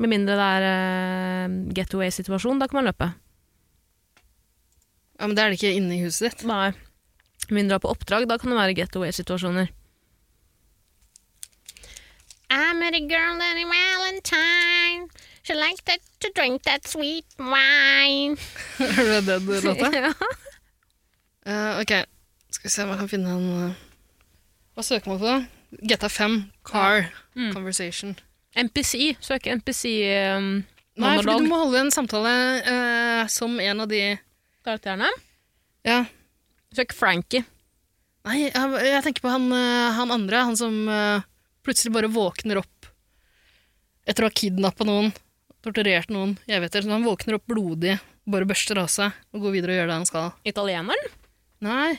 Med mindre det er uh, getaway-situasjon, da kan man løpe. Ja, men det er det ikke inne i huset ditt. Nei. Med mindre du er på oppdrag, da kan det være getaway-situasjoner. I met a girl on a Valentine. She liked that, to drink that sweet wine. Red Dead-låta. Eh, ok, skal vi se om jeg kan finne en eh, Hva søker man på da? GTA 5, Car, Mm. Conversation. NPC. Søk eh, Nei, fordi du NPC-monolog. må holde en samtale eh, som en av de Karakterene. Ja. Søk Frankie. Nei, jeg, jeg tenker på han, eh, han andre, han som eh, plutselig bare våkner opp etter å ha kidnappa noen, torturert noen, jeg vet det. Så han våkner opp blodig, bare børster av seg og går videre og gjør det han skal. Italieneren. Nei.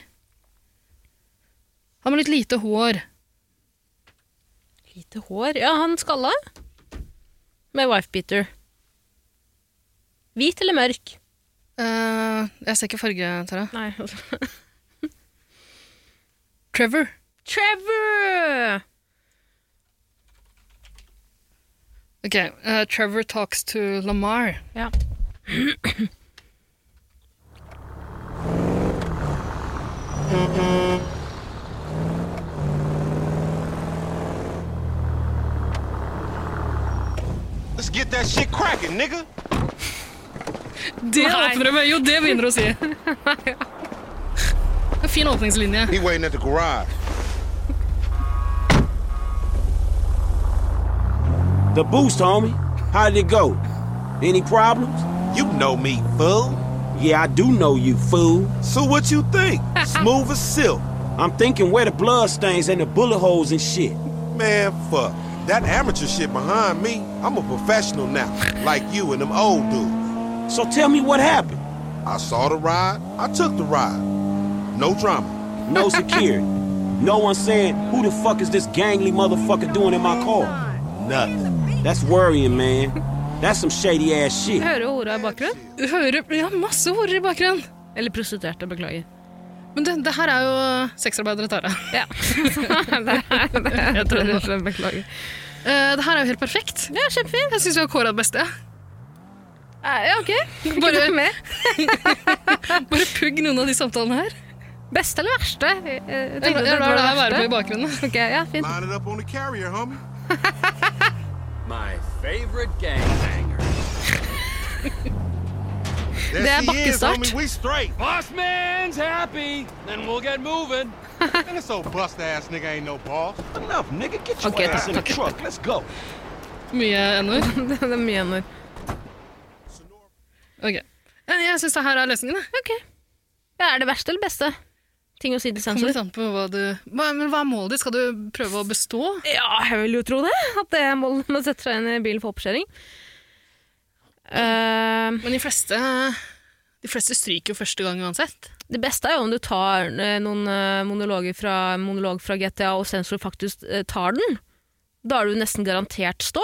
Han med litt lite hår. Hvite hår Ja, han skalla. Med wifebeater. Hvit eller mørk? Eh, jeg ser ikke farge, Tara. Nei. Trevor. Trevor! Ok, eh, Trevor talks to Lamar. Ja. Let's get that shit cracking, nigga. Det åpner de Jo, det begynner å si. En fin åpningslinje. He waiting at the garage. The boost, homie. How did it go? Any problems? You know me, fool. Yeah, I do know you, fool. So what you think? Smooth as silk. I'm thinking where the blood stains and the bullet holes and shit. Man, fuck. That amateur shit behind me, I'm a professional now, like you and them old dudes. So tell me what happened. I saw the ride, I took the ride. No drama. No security. no one saying, who the fuck is this gangly motherfucker doing in my car? Nothing. That's worrying, man. That's some shady ass shit. Hører du hora i bakgrunnen? Du hører ja, masse horer i bakgrunnen. Eller prostituerte, beklager. Men det, det her er jo sexarbeidere Tara. Ja. det er, det er, jeg tror det er beklager. Eh, det her er jo helt perfekt. Ja, kjempefint. Jeg syns vi har kåra det beste. Eh, Ja, ok. Bare- Bare med. Bare pugg noen av de samtalene her. Beste eller verste? Jeg, jeg Jeg tenkte at jeg var lar det her verste. være på i bakgrunnen. Ok, ja, fint. Line it up on the carrier, homie. My favorite gangbanger. There Det er she is, bakkestart. homie. We straight. Boss man's happy, then we'll get moving. And this old bust ass nigga ain't no boss. Enough, nigga. Get your Okay, ass in the truck. Let's go. Mye n-ord. Det er mye ender. Ok. Eh, Jeg syns det her er løsningen. jeg. Ok. Ja, er det verste eller beste? Ting å si til Kommer litt sensor? an på hva du hva, Men hva er målet ditt? Skal du prøve å bestå? Ja, jeg vil jo tro det. At det er målet med å sette seg inn i bilen for oppskjæring. Eh, Men de fleste, de fleste stryker jo første gang uansett. det beste er jo om du tar eh, noen eh, monologer fra, monolog fra GTA, og sensor faktisk eh, tar den. Da er du nesten garantert stå.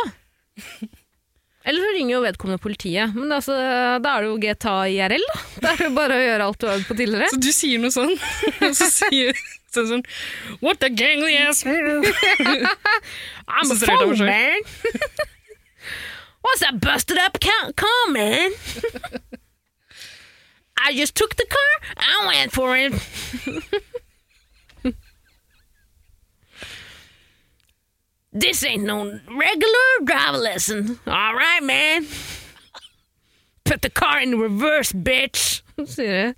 Eller så ringer jo vedkommende politiet. Men det er altså, da er det jo GTA IRL, da. Da er det jo bare å gjøre alt du har øvd på tidligere. Så du sier noe sånn, og så sier sånn sånn What the gangly ass I'm Så serverte han meg selv. man. What's that busted up ca- car, man? I just took the car, I went for it. this ain't no regular driver lesson. All right, man. Put the car in reverse, bitch. Sier jeg.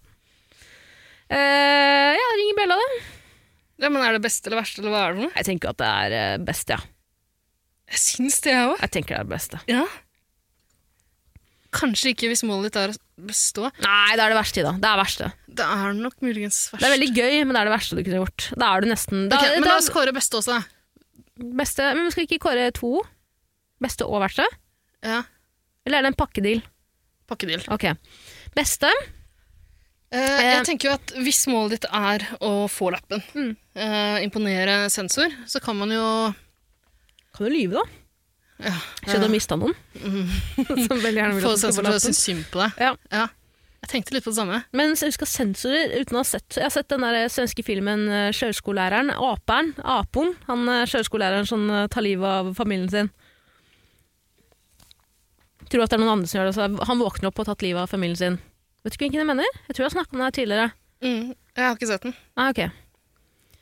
Eh, ja, ringer bjella, da. Ja, men er det beste eller verste, eller hva er det for noe? Jeg tenker at det er eh, best, ja. Jeg syns det, jeg òg. Jeg tenker det er det beste. Ja. Kanskje ikke hvis målet ditt er å bestå. Nei, det er det verste, Ida. Det er verste. Det er nok muligens verst. Det er veldig gøy, men det er det verste du kunne gjort. Da er du nesten da, Ok, men da, la oss kåre beste også, da. beste, Men vi skal ikke kåre to? Beste og verste? Ja. Eller er det en pakkedeal? Pakkedeal. Ok. Beste? Eh, jeg tenker jo at hvis målet ditt er å få lappen, eh, imponere sensor, så kan man jo Kan du lyve, da? ja, Ikke at du har mista noen. Som veldig gjerne vil få at du skal sensor få til å lappen. synes synd på deg. Ja. Jeg tenkte litt på det samme. Men jeg husker sensorer uten å ha sett Jeg har sett den der svenske filmen eh, 'Sjøskolelæreren'. Aperen. Apoen. Han eh, sjøskolelæreren som eh, tar livet av familien sin. Tror at det er noen andre som gjør det. Så han våkner opp og har tatt livet av familien sin. Vet du ikke hvilken jeg mener? Jeg tror jeg har snakket om det her tidligere. Mm, jeg har ikke sett den. Nei, ok.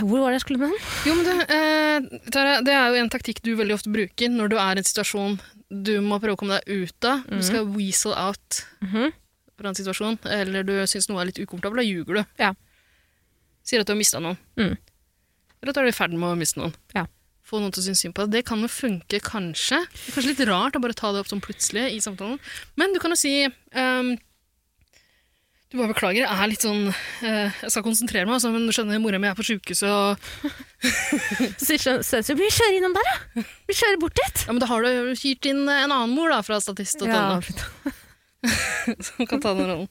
Hvor var det jeg skulle med den? Jo, men du, eh, Tara, det er jo en taktikk du veldig ofte bruker når du er i en situasjon du må prøve å komme deg ut av. Du Mhm. skal weasel out fra en situasjon, eller du syns noe er litt ukomfortabelt, da ljuger du. Ja. Sier at du har mista noen. Mhm. Eller at du er i ferd med å miste noen. Ja. Få noen til å synes synd på deg. Det kan jo funke, kanskje. Det er kanskje litt rart å bare ta det opp sånn plutselig i samtalen. Men du kan jo si ehm, du bare beklager, jeg er litt sånn eh, Jeg skal konsentrere meg, altså, men du skjønner, mora mi er på sjukehuset, og Så sier Sensor, vi kjører innom der, ja. Vi kjører bort dit. Ja, men da har du hyrt inn en annen mor da, fra statist.no, Ja. som kan ta den rollen.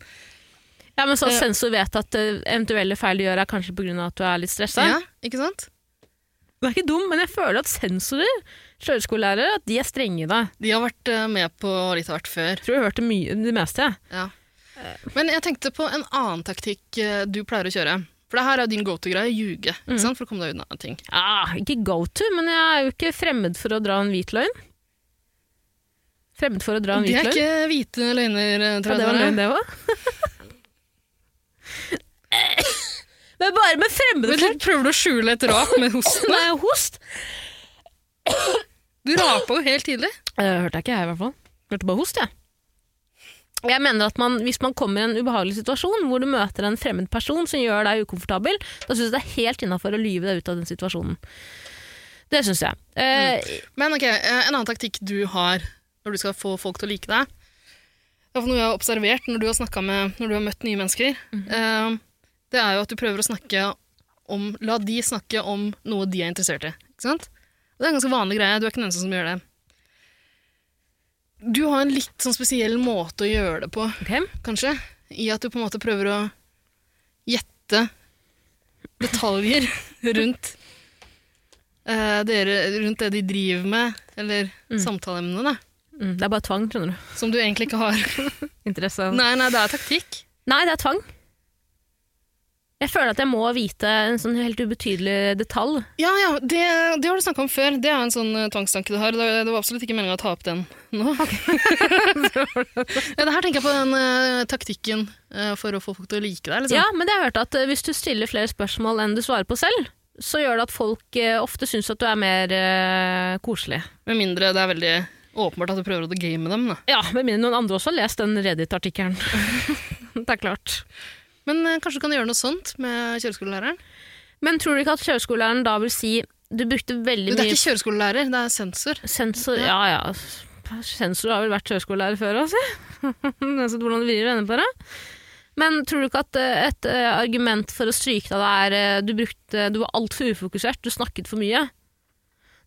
ja, men så at Sånn. sensor vet at eh, eventuelle feil du gjør er kanskje på grunn av at du er litt stressa. Ja, ikke sant? Den er ikke dum, men jeg føler at sensorer, kjøreskolelærere, at de er strenge i det. De har vært eh, med på litt av hvert før. Jeg Eh. tror jeg har hørt det, mye, det meste. jeg. Ja. Men jeg tenkte på en annen taktikk eh, du pleier å kjøre. For det her er jo din go-to-greie, ljuge. Ikke sant? For å komme deg unna ting. Ah, ikke go to, men jeg er jo ikke fremmed for å dra en hvit løgn. Fremmed for å dra en Det hvit er løgn. ikke hvite løgner, eh, Ja, tror det jeg. var det løgn, var. det òg. Men bare med fremmede Men folk. du prøver du å skjule et rap med hosten? Nei, host. Du rapa jo helt tidlig. Eh, hørte jeg ikke, jeg i hvert fall. Hørte bare host, jeg. Jeg mener at man, Hvis man kommer i en ubehagelig situasjon hvor du møter en fremmed person som gjør deg ukomfortabel, da syns jeg det er helt innafor å lyve deg ut av den situasjonen. Det syns jeg. Eh, Men ok, eh, en annen taktikk du har når du skal få folk til å like deg, det er noe jeg har observert når du har, snakket med, når du har møtt nye mennesker, eh, det er jo at du prøver å snakke om, la de snakke om noe de er interessert i. Ikke sant? Og det er en ganske vanlig greie, du er ikke den eneste som gjør det. Du har en litt sånn spesiell måte å gjøre det på, ok. kanskje, i at du på en måte prøver å gjette detaljer rundt, eh, dere, rundt det de driver med, eller samtaleemnene, da, Mm, det er bare tvang, skjønner du. som du egentlig ikke har. Interesse. Nei. nei, nei, det er taktikk. det er tvang. Jeg føler at jeg må vite en sånn helt ubetydelig detalj. Ja, ja, det, det har du snakka om før. Det er en sånn eh, tvangstanke du har. Det, det var absolutt ikke meninga å ta opp den nå. ja, det her tenker jeg på den eh, taktikken eh, for å få folk til å like deg. Liksom. Ja, men jeg har hørt at eh, hvis du stiller flere spørsmål enn du svarer på selv, så gjør det at folk eh, ofte syns at du er mer eh, koselig. Med mindre det er veldig åpenbart at du prøver å game dem. Da. Ja, med mindre noen andre også har lest den Reddit-artikkelen. det er klart. Men eh, kanskje du kan gjøre noe sånt med kjøreskolelæreren? Men tror du ikke at kjøreskolelæreren da vil si du brukte Du, veldig det er mye ikke kjøreskolelærer, det er sensor. sensor Ja ja, sensor har vel vært kjøreskolelærer før òg, si. Uansett hvordan du vrir og vender på det. Men tror du ikke at eh, et eh, argument for å stryke deg det er eh, du, brukte, du var altfor ufokusert, du snakket for mye?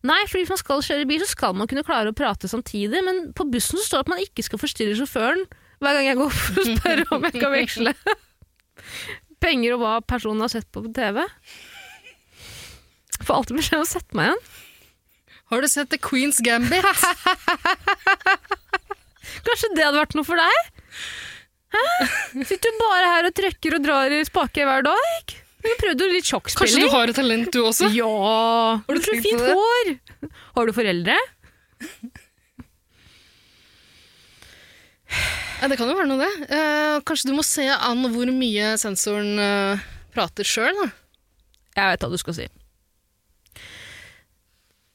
Nei, for hvis man skal kjøre bil, så skal man kunne klare å prate samtidig, men på bussen så står det at man ikke skal forstyrre sjåføren hver gang jeg går for å spørre om jeg kan veksle. Penger og hva personen har sett på på TV. Får alltid beskjed om å sette meg igjen. Har du sett The Queen's Gambit? Kanskje det hadde vært noe for deg? Hæ? Sitter du bare her og trykker og drar i spaker hver dag? Du prøvde jo litt Kanskje du sjokkspilling. har et talent, du også? Ja! Har du du så tenkt fint på det? hår? Har du foreldre? Ja, det kan jo være noe, det. Eh, kanskje du må se an hvor mye sensoren eh, prater sjøl, da. Jeg vet hva du skal si.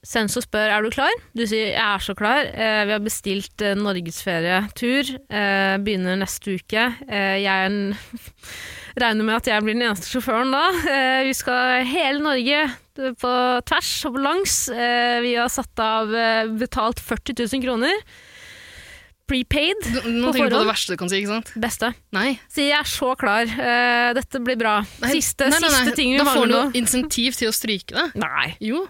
Sensor spør er du klar. Du sier jeg er så klar. Eh, vi har bestilt eh, norgesferietur. Eh, begynner neste uke. Eh, jeg er en regner med at jeg blir den eneste sjåføren da. Eh, vi skal hele Norge på tvers og på langs. Eh, vi har satt av eh, betalt 40 000 kroner. Prepaid. Nå nå På tenker du på forhånd? det verste du kan si, ikke sant? Beste. Nei. Sier jeg er så klar. Eh, dette blir bra. Nei, siste nei, nei, nei. siste ting vi da får du mangler jo nå. insentiv til å stryke det. Nei. Jo.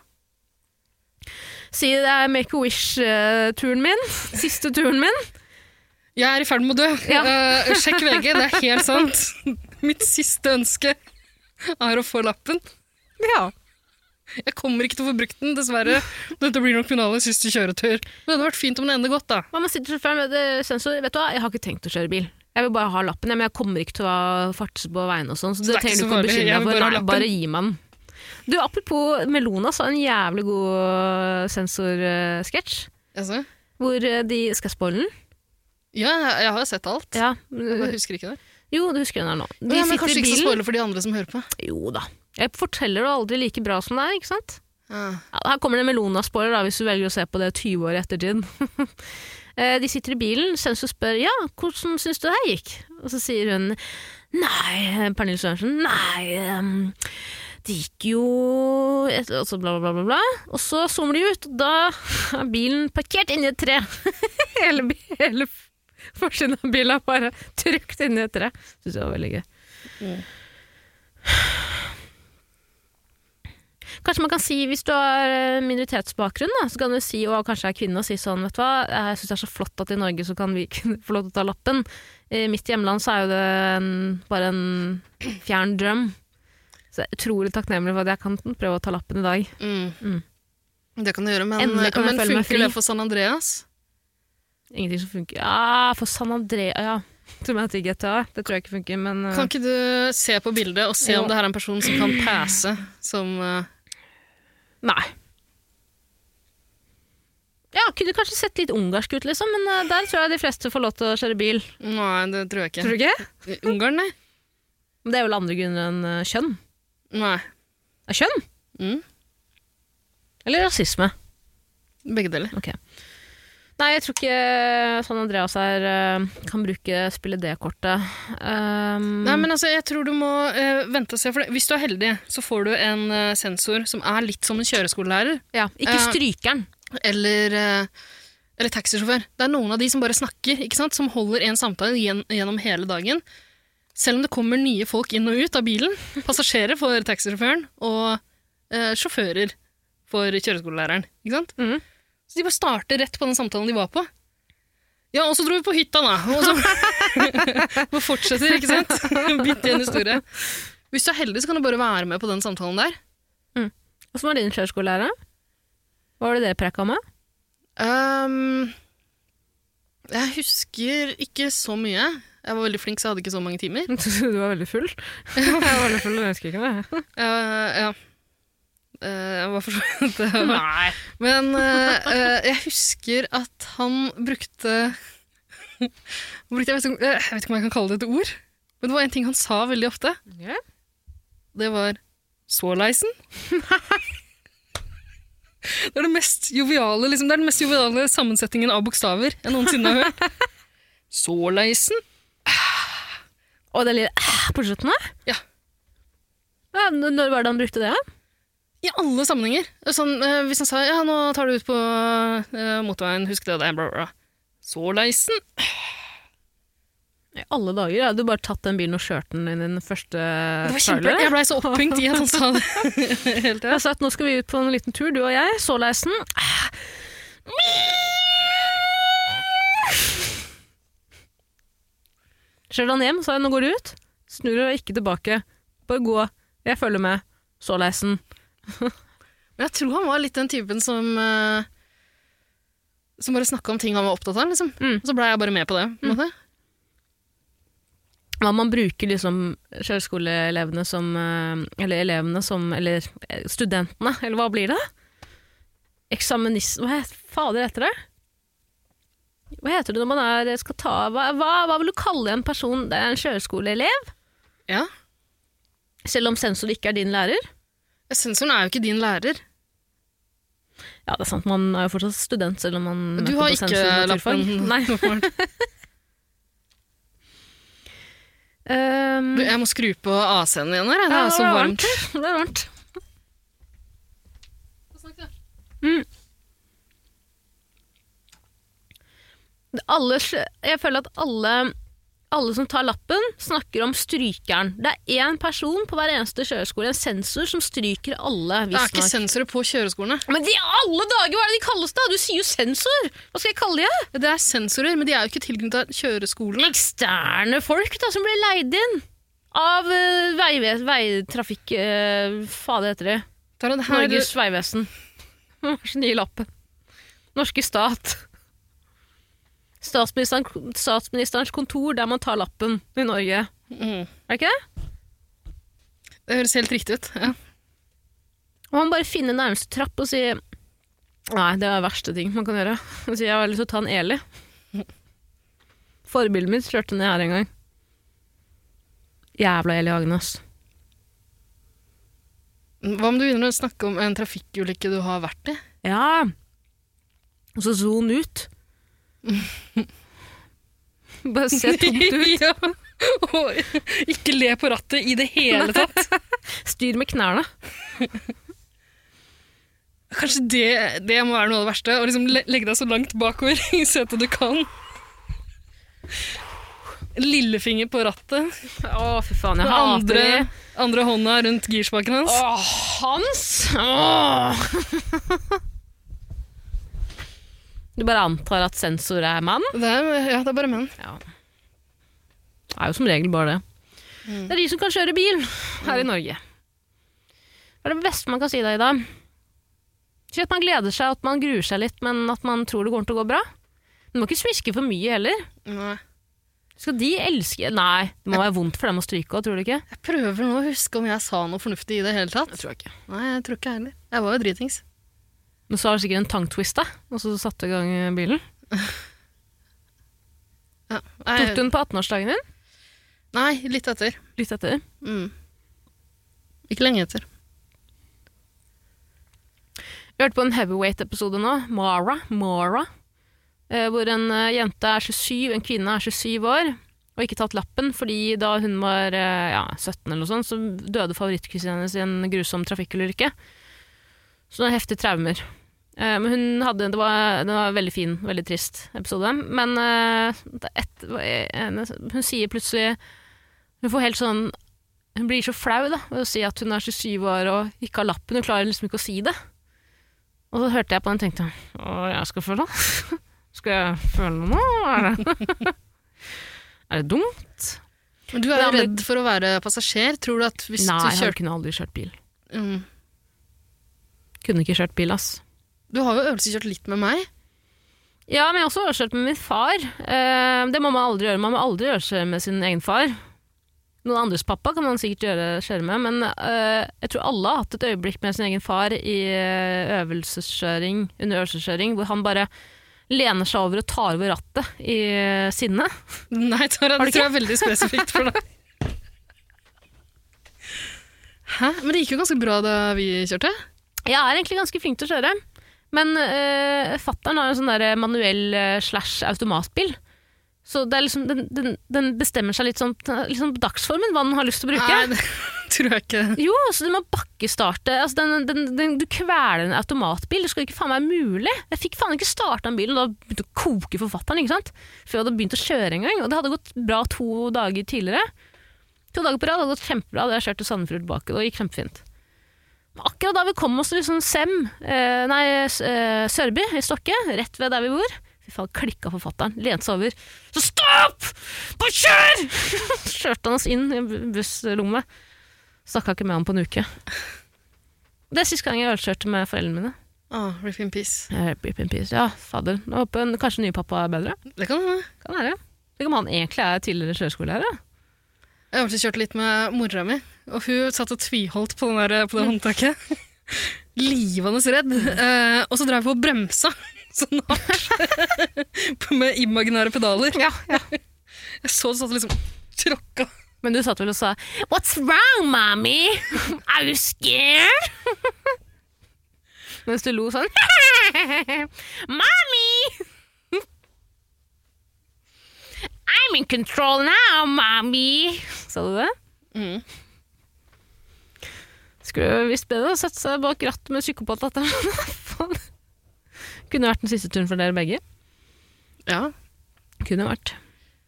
Si det er Make-A-Wish-turen min. Siste turen min. Jeg er i ferd med å dø. Ja. Eh, sjekk VG, det er helt sant. Mitt siste ønske er å få lappen. Ja. Jeg kommer ikke til å få brukt den, dessverre. Dette blir nok finalens siste kjøretur. Men det hadde vært fint om den ender godt, da. Hva med sittersjåføren med det sensor? Vet du hva, jeg har ikke tenkt å kjøre bil. Jeg vil bare ha lappen, jeg, men jeg kommer ikke til å fartes på veiene og sånn. Så, det det er ikke trenger du ikke å så farlig, bekymre jeg deg for. vil bare ha Nei, lappen. bare gi meg den. Du, apropos Melona, så en jævlig god eh, sensorsketsj. Altså, Hvor eh, de Skal jeg spoile den? ja, jeg- jeg har sett alt. Ja. Jeg eh, bare husker ikke det. Jo, du husker den her nå. De Ja, men sitter i kanskje ikke så bilen. spoiler for de andre som hører på. Jo da. Jeg forteller det aldri like bra som det er, ikke sant? Ja. Ja, her kommer det Melona-spoiler da, hvis du velger å se på det 20 år etter tiden. Eh, De sitter i bilen, sensor spør ja, hvordan syns du det her gikk? Og så sier hun nei, eh, Pernille Sørensen, nei, em, det gikk jo et- Og så bla, bla, bla, bla, bla. Og så zoomer de ut, og da er bilen parkert inni et tre. hele bi- hele f- forsiden av bilen er bare trykt inni et tre. Syns jeg var veldig gøy. Kanskje man kan si, hvis du har eh, minoritetsbakgrunn, da, så kan du si, og kanskje er kvinne, og si sånn, vet du hva, jeg syns det er så flott at i Norge så kan vi kunne få lov til å ta lappen. I mitt hjemland så er jo det en, bare en fjern drøm. Så jeg er utrolig takknemlig for at jeg kan prøve å ta lappen i dag. Mm. Det kan du gjøre, men, Endelig kan jeg men føle meg fri. funker det for San Andreas? Ingenting som funker. Ja, for San Andrea, ja. Tror jeg til GTA. Det tror jeg ikke funker, men eh, Kan ikke du se på bildet og se Jo. om det her er en person som kan passe som eh, Nei. Ja, kunne kanskje sett litt ungarsk ut, liksom, men eh, der tror jeg de fleste får lov til å kjøre bil. Nei, det tror jeg ikke. Tror du ikke? Ungarn, nei? Men det er vel andre grunner enn eh, kjønn. Nei. Er kjønn? Mm. Eller rasisme. Begge deler. Ok. Nei, jeg tror ikke San Andreas her eh, kan bruke spille det-kortet. Um, Nei, men altså, jeg tror du må eh, vente og se. For det. Hvis du er heldig, så får du en eh, sensor som er litt som en kjøreskolelærer. ja, ikke eh, strykeren. Eller, eh, eller taxisjåfør. Det er noen av de som bare snakker, ikke sant? som holder en samtale gjen gjennom hele dagen. Selv om det kommer nye folk inn og ut av bilen. Passasjerer for taxisjåføren, og eh, sjåfører for kjøreskolelæreren. Ikke sant? Mhm. Så de bare starter rett på den samtalen de var på. Ja, og så dro vi på hytta, da. Og så bare fortsetter, ikke sant? Bitte igjen historie. Hvis du er heldig, så kan du bare være med på den samtalen der. Åssen var din kjøreskolelærer? Hva var det dere prekka med? Ehm, jeg husker ikke så mye. Jeg var veldig flink, så jeg hadde ikke så mange timer. du var veldig full. jeg var veldig full, jeg husker ikke det. Eh, ja. Eh, jeg var for så vidt det. Nei. Men eh, eh, jeg husker at han brukte, brukte jeg, vet ikke, om- eh, jeg vet ikke om jeg kan kalle det et ord, men det var en ting han sa veldig ofte. Ja. Det var såleisen. Det er, det, mest joviale, liksom, det er den mest joviale sammensetningen av bokstaver jeg noensinne har hørt. Såleisen. Og det lille æh på slutten der? Ja. Ja, n- Når var det han brukte det? da? I alle sammenhenger. Sånn, eh, hvis han sa ja, nå tar du ut på eh, motorveien, husk det, det er bla, bla, bla. Såleisen. I alle dager. Jeg hadde jo bare tatt den bilen og kjørt den inn i den første Det var kjempe, trailer. jeg blei så opphengt i at han sa det. Hele Jeg tiden. har sagt nå skal vi ut på en liten tur, du og jeg. Såleisen. Æh. Kjørte han hjem, sa jeg nå går du ut. Snur og ikke tilbake. Bare gå. Jeg følger med. Såleisen. Men jeg tror han var litt den typen som eh, som bare snakka om ting han var opptatt av. liksom. Mm. Og så blei jeg bare med på det. på en måte. Hva man bruker liksom kjøreskoleelevene som eh, Eller elevene som Eller eh, studentene, eller hva blir det? Eksamenist... Hva het- fader heter det? Hva heter det når man er, skal ta hva, hva, hva vil du kalle en person Det er en kjøreskoleelev? Ja. Selv om sensor ikke er din lærer? Sensoren er jo ikke din lærer. Ja, det er sant, man er jo fortsatt student selv om man Du møter har på ikke sensor i naturfag. lappen. Nei. åpenbart. Um, Ehm, Du, jeg må skru på AC-en igjen her. jeg. Det Ja, er så var varmt. Det var varmt. Mm. Det- Alle, sj- jeg føler at alle, alle som tar lappen, snakker om strykeren. Det er én person på hver eneste kjøreskole, en sensor, som stryker alle. Det er ikke visstnok. sensorer på kjøreskolene. Men de alle dager, hva er det de kalles da? Du sier jo sensor! Hva skal jeg kalle de? da? Det er sensorer, men de er jo ikke tilknyttet kjøreskolene. Eksterne folk da, som blir leid inn av uh, veitrafikk... Uh, fader heter det. Tara, det her- Norges Veivesen. Vår nye lappen. Norske stat. Statsministeren, statsministerens kontor der man tar lappen i Norge. Mm. Er det ikke det? Det høres helt riktig ut. Ja. Og man bare finner nærmeste trapp og sier Nei, det er verste ting man kan gjøre. Og sier jeg har lyst til å ta en Eli. Forbildet mitt kjørte ned her en gang. Jævla Eli Hagen, ass. Hva om du begynner å snakke om en trafikkulykke du har vært i? Ja. Og så zon ut. Bare se tomt ut. ja. Og ikke le på rattet i det hele tatt. Styr med knærne. Kanskje det, det må være noe av det verste? Å liksom le- legge deg så langt bakover i setet du kan. Lillefinger på rattet. Å, fy faen, jeg Den hater andre, det. andre hånda rundt girspaken hans. Åh, Hans! Åh. Du bare antar at sensor er mann? Det er, ja, det er bare menn. Mm. Det er jo som regel bare det. Det er de som kan kjøre bil her i Norge. Det er det beste man kan si da, Ida. Si at man gleder seg, at man gruer seg litt, men at man tror det kommer til å gå bra. Du må ikke smiske for mye heller. Nei. Skal de elske Nei, det må være vondt for dem å stryke òg, tror du ikke? Jeg prøver nå å huske om jeg sa noe fornuftig i det hele tatt. Det tror jeg ikke. Nei, jeg tror ikke jeg heller. Jeg var jo dritings. Men så har det sikkert en tongue-twist, da, og så satte du i gang bilen. Ja. Tok du Nei, den på 18-årsdagen din? nei, litt etter. Litt etter. Mm. Ikke lenge etter. Jeg hørte på en heavyweight-episode nå, Mara, Mara, eh, hvor en eh, jente er 27, en kvinne er 27 år, og ikke tatt lappen, fordi da hun var eh, ja, 17 eller noe sånt, så døde favorittkusinen hennes i en grusom trafikkulykke. Så hun har heftige traumer. Eh, Men hun hadde, det var, det var en veldig fin, veldig trist episode. Men eh, det er et, en- hun sier plutselig Hun får helt sånn Hun blir så flau da, ved å si at hun er 27 år og ikke har lappen. Hun klarer liksom ikke å si det. Og så hørte jeg på den og tenkte Å, jeg skal føle det. Skal jeg føle noe nå? Er det, er det dumt? Men du er Ja, jo men- redd for å være passasjer. Tror du at hvis Nei, du jeg kjørte kunne aldri kjørt bil. mm. Kunne ikke kjørt bil, ass. Du har jo øvelseskjørt litt med meg. Ja, men jeg har også øvelseskjørt med min far. Eh, det må man aldri gjøre. Man må aldri øvelseskjøre med sin egen far. Noen andres pappa kan man sikkert gjøre, kjøre med, men eh, jeg tror alle har hatt et øyeblikk med sin egen far i eh, øvelseskjøring, under øvelseskjøring, hvor han bare lener seg over og tar over rattet i eh, sinne. Nei, Har Tara, du det tror jeg er veldig spesifikt for deg. Hæ? Men det gikk jo ganske bra da vi kjørte. Jeg er egentlig ganske flink til å kjøre. Men øh, fattern har en sånn der manuell eh, slash automatbil. Så det er liksom, den, den, den bestemmer seg litt sånn liksom på dagsformen hva den har lyst til å bruke. Nei, det tror jeg ikke. Jo, så du må bakkestarte. Altså, den, den, den, du kveler en automatbil. Det skulle ikke faen meg mulig. Jeg fikk faen ikke starta den bilen, og da begynte det å koke for fatter'n. ikke sant? Før jeg hadde begynt å kjøre engang. Og det hadde gått bra to dager tidligere. To dager på rad hadde gått kjempebra. Da hadde jeg kjørt til Sandefjord tilbake. Det gikk kjempefint. Men akkurat da vi kom oss til liksom Sem, eh, nei, S- eh, Sørby i Stokke, rett ved der vi bor Fy faen, klikka for fatter'n. Lente seg over. Så stopp! Bare kjør! Så kjørte han oss inn i bu- busslommet. Snakka ikke med han på en uke. Det er siste gang jeg ølkjørte med foreldrene mine. Ah, rip in peace. Eh, Rip in peace. Ja, fader. Jeg håper en- kanskje ny pappa er bedre. Det kan hende. Kan være. Tenk om han egentlig er tidligere kjøreskolelærer. Jeg har øvelseskjørt litt med mora mi, og hun satt og tviholdt på, den der, på det håndtaket. Livende redd. Eh, og så drev hun og bremsa sånn hardt med imaginære pedaler. Jeg så du satt og liksom tråkka. Men du satt vel og sa 'What's wrong, mommy? Are you scared?' Mens du lo sånn. mommy! I'm in control now, mommy! Sa du det? Mm. Skulle visst bedre å sette seg bak rattet med psykopatlatteren. Kunne vært den siste turen for dere begge. Ja. Kunne vært.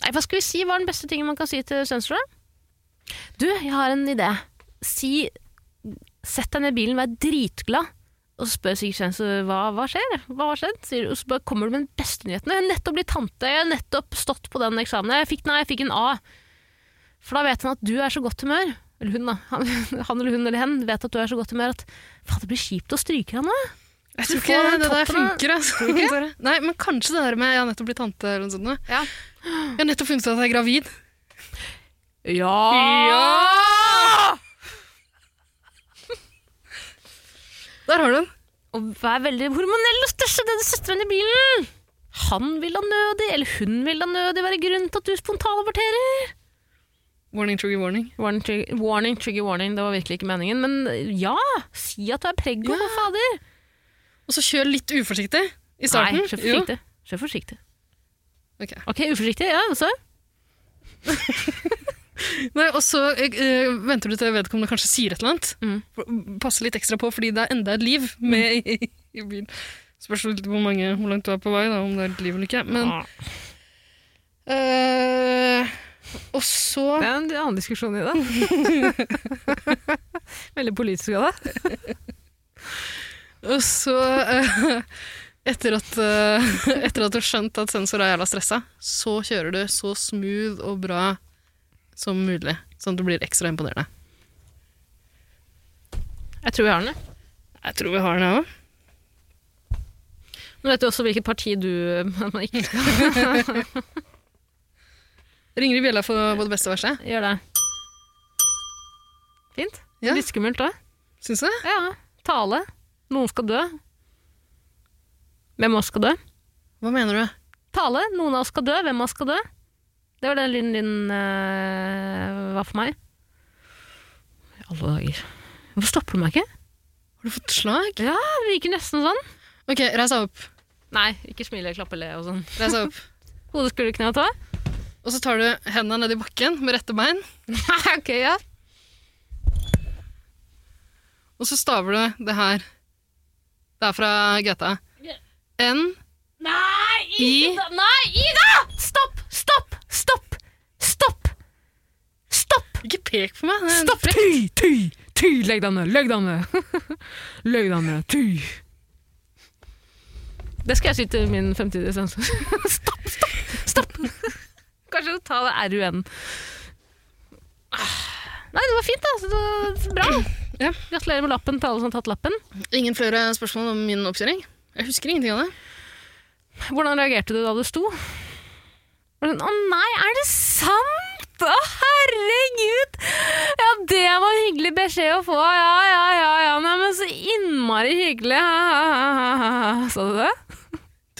Nei, hva skal vi si? Hva er den beste tingen man kan si til sensorer? Du, jeg har en idé. Si Sett deg ned i bilen, vær dritglad. Og så spør sikkert sensor hva, hva skjer. Hva har skjedd? Sier, du, og så bare kommer du med den beste nyheten. Jeg har nettopp blitt tante, jeg har nettopp stått på den eksamen. Jeg fikk, nei, jeg fikk en A. For da vet han at du er så godt humør. Eller hun, da. Han, han eller hun eller hen vet at du er så godt humør at faen, det blir kjipt å stryke han nå. Du Jeg tror ikke får den det der toppen av- funker. Altså. Bare- Nei, men kanskje det der med 'jeg har nettopp blitt tante' eller noe sånt. nå. Ja. Jeg har nettopp funnet ut at jeg er gravid. Ja! Der har du den. Og vær veldig hormonell og største det du setter henne i bilen. Han vil da nødig, eller hun vil da nødig være grunnen til at du spontanaborterer. Warning, trigger, warning. Warning, trigger warning, trigger warning, det var virkelig ikke meningen. Men ja, si at du er preggo, for fader. Og så kjør litt uforsiktig i starten. Nei, kjør forsiktig. Kjør forsiktig. Jo. Ok. Ok, uforsiktig, ja, og så? Nei, og så eh, venter du til vedkommende kanskje sier et eller annet. Mm. F- Passe litt ekstra på, fordi det er enda et liv med i, i bilen. Spørs jo litt hvor, mange, hvor langt du er på vei, da, om det er et liv eller ikke. Men, eh, og så Det er en annen diskusjon i det. Veldig politisk av deg. Og så, eh, etter, at, eh, etter at du har skjønt at sensor er jævla stressa, så kjører du så smooth og bra som mulig. Sånn at du blir ekstra imponerende. Jeg tror vi har den. jeg. Jeg tror vi har den her òg. Nå vet du også hvilket parti du man ikke skal Ringer i bjella for både beste og verste? gjøre det. Fint. Ja. Litt skummelt òg. Syns du det? Ja. Tale. Noen skal dø. Hvem av oss skal dø? Hva mener du? Tale. Noen av oss skal dø. Hvem av oss skal dø? Det var den lyden din eh, var for meg. I alle dager. Hvorfor stopper du meg ikke? Har du fått slag? Ja, Det virker nesten sånn. Ok, reis deg opp. Nei, ikke smile, klappe, le og sånn. Reis deg opp. Hode, skulder, kne og tå. Og så tar du hendene ned i bakken med rette bein, ok, ja. og så staver du det her. Det er fra GTA. N Nei, I- Ida! Nei, Ida! Stopp! Stopp! Stopp! Stopp! Stopp! Ikke pek på meg. det er- Stopp! Ty! Ty! Ty! Legg deg ned! Legg deg ned! Legg deg ned! Ty! Det skal jeg si til min fremtidige sensor. stopp! Stopp! Stopp! Kanskje ta det RUN. Ah. Nei, det var fint, da. Det var bra. Ja. Gratulerer med lappen til alle som har tatt lappen. Ingen flere spørsmål om min oppkjøring? Jeg husker ingenting av det. Hvordan reagerte du da det sto? Var det sånn, Å nei, er det sant? Å herregud! Ja, det var en hyggelig beskjed å få. Ja, ja, ja, ja. Nei, men så innmari hyggelig. Ha, ha, ha, ha, ha. Sa du det?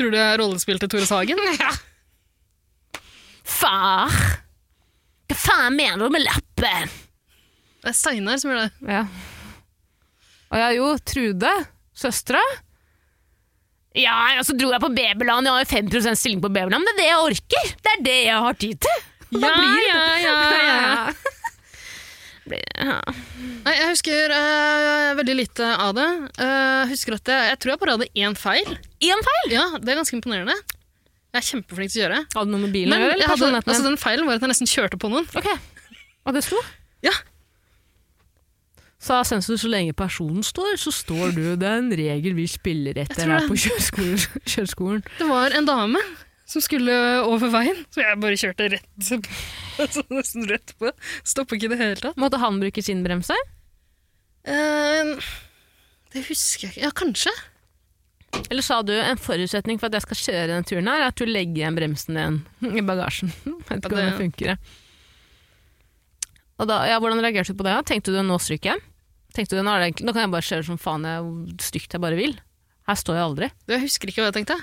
Tror du jeg rollespilte Tore Sagen? Ja. Far! Hva faen mener du med lappen? Det er Steinar som gjør det. Ja. Og ja, jo, Trude, søstera. Ja, og så dro jeg på babyland. Jeg har jo 5 stilling på babyland. Men det er det jeg orker. Det er det jeg har tid til. Da blir det- ja. Nei, jeg husker eh, veldig lite av det. Eh, Jeg husker at jeg, jeg tror jeg bare hadde én feil. Én feil! Ja, Det er ganske imponerende. Jeg er kjempeflink til å gjøre. Hadde noe med bilen å Men gjøre? jeg eller hadde, personligheten altså, din? den feilen var at jeg nesten kjørte på noen. Ok. Og det sto? Ja. Sa sensor så lenge personen står, så står du. Det er en regel vi spiller etter tror her det. på kjøreskolen. kjøreskolen. Det var en dame som skulle over veien, så jeg bare kjørte rett altså, nesten rett på. Stoppa ikke i det hele tatt. Måtte han bruke sin bremse? Eh, det husker jeg ikke. Ja, kanskje. Eller sa du en forutsetning for at jeg skal kjøre denne turen her, er at du legger igjen bremsen din i bagasjen? Jeg vet ikke Ja, det- hvordan det funker. jeg. Og da, ja, hvordan reagerte du på det? da? Tenkte du nå stryker jeg? Tenkte du nå, er det, egentlig- nå kan jeg bare kjøre som faen jeg hvor stygt jeg bare vil? Her står jeg aldri. Jeg husker ikke hva jeg tenkte.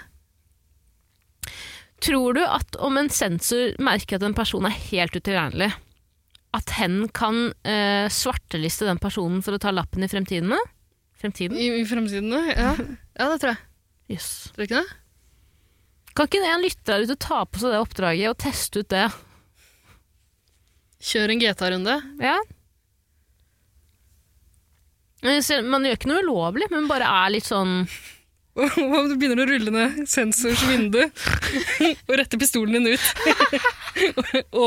Tror du at om en sensor merker at en person er helt utilregnelig, at hen kan eh, svarteliste den personen for å ta lappen i fremtiden? da? Fremtiden? I, i fremtiden, da? ja. ja, det tror jeg. Yes. Tror du ikke det? Kan ikke en lytter der ute ta på seg det oppdraget og teste ut det? Kjør en GTA-runde. Ja. Eh, selv- Man gjør ikke noe ulovlig, men bare er litt sånn Hva om du begynner å rulle ned sensors vindu og rette pistolen din ut?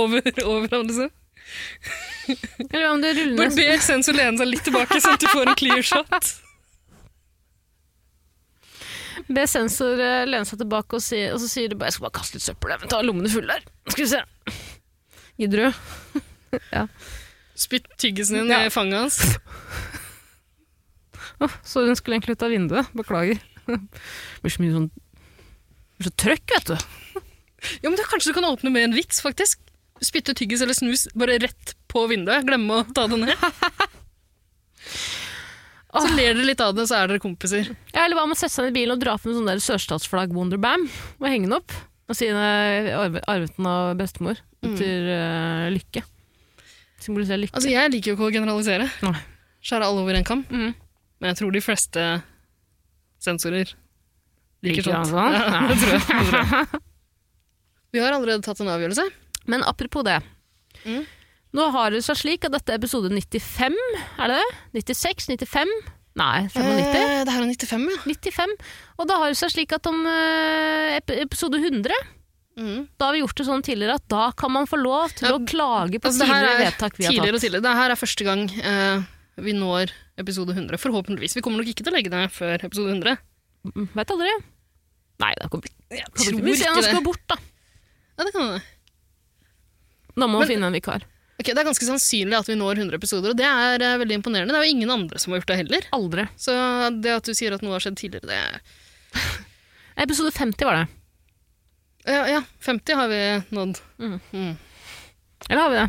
over, over ham, liksom. Eller om du ruller Bare ned ber sensor lene seg litt tilbake, sånn at du får en clear shot. Be sensor eh, lene seg tilbake, og, si, og så sier du bare 'jeg skal bare kaste litt søppel', jeg, men ta lommene fulle her. Skal vi se. Gidder du? Spytt tyggisen din Ja. i fanget hans. Åh, så hun skulle egentlig ut av vinduet. Beklager. Det blir så mye sånn det blir så trøkk, vet du. Ja, men da Kanskje du kan åpne med en vits, faktisk? Spytte tyggis eller snus bare rett på vinduet. Glemme å ta det ned. Så ler dere litt av det, så er dere kompiser. Ja, eller hva om å sette seg ned i bilen og dra frem sånn der sørstatsflagg Wonderbam og henge den opp? Og si den er arve- arvet den av bestemor. Betyr eh, lykke. Symboliserer lykke. Altså, Jeg liker jo ikke å generalisere. Nei. Skjære alle over en kam. Mhm. Men jeg tror de fleste sensorer liker, Liker han sånt. sånn? Ja, det tror jeg, det tror jeg. Vi har allerede tatt en avgjørelse. Men apropos det. Mm. Nå har det seg slik at dette er episode 95, er det det? 96? 95? Nei, 95? Eh, det her er 95, ja. 95. Og da har det seg slik at om eh, ep- episode 100 Mhm. Da har vi gjort det sånn tidligere at da kan man få lov til Ja, å klage på Altså, det her tidligere er vedtak vi har tidligere og tatt. tidligere. Det her er første gang eh, vi når episode 100. Forhåpentligvis. Vi kommer nok ikke til å legge det før episode 100. Mm, Vet aldri. Nei, det kommer Jeg kommer ikke Hvis en av oss går bort, da. Ja, det kan hende. Da må Men- man finne en vikar. Ok, Ok, Det er ganske sannsynlig at vi når 100 episoder, og det er eh, veldig imponerende. Det er jo ingen andre som har gjort det heller. Aldri. Så det at du sier at noe har skjedd tidligere, det er Episode 50 var det. ja, ja, 50 har vi nådd. Eller har vi det?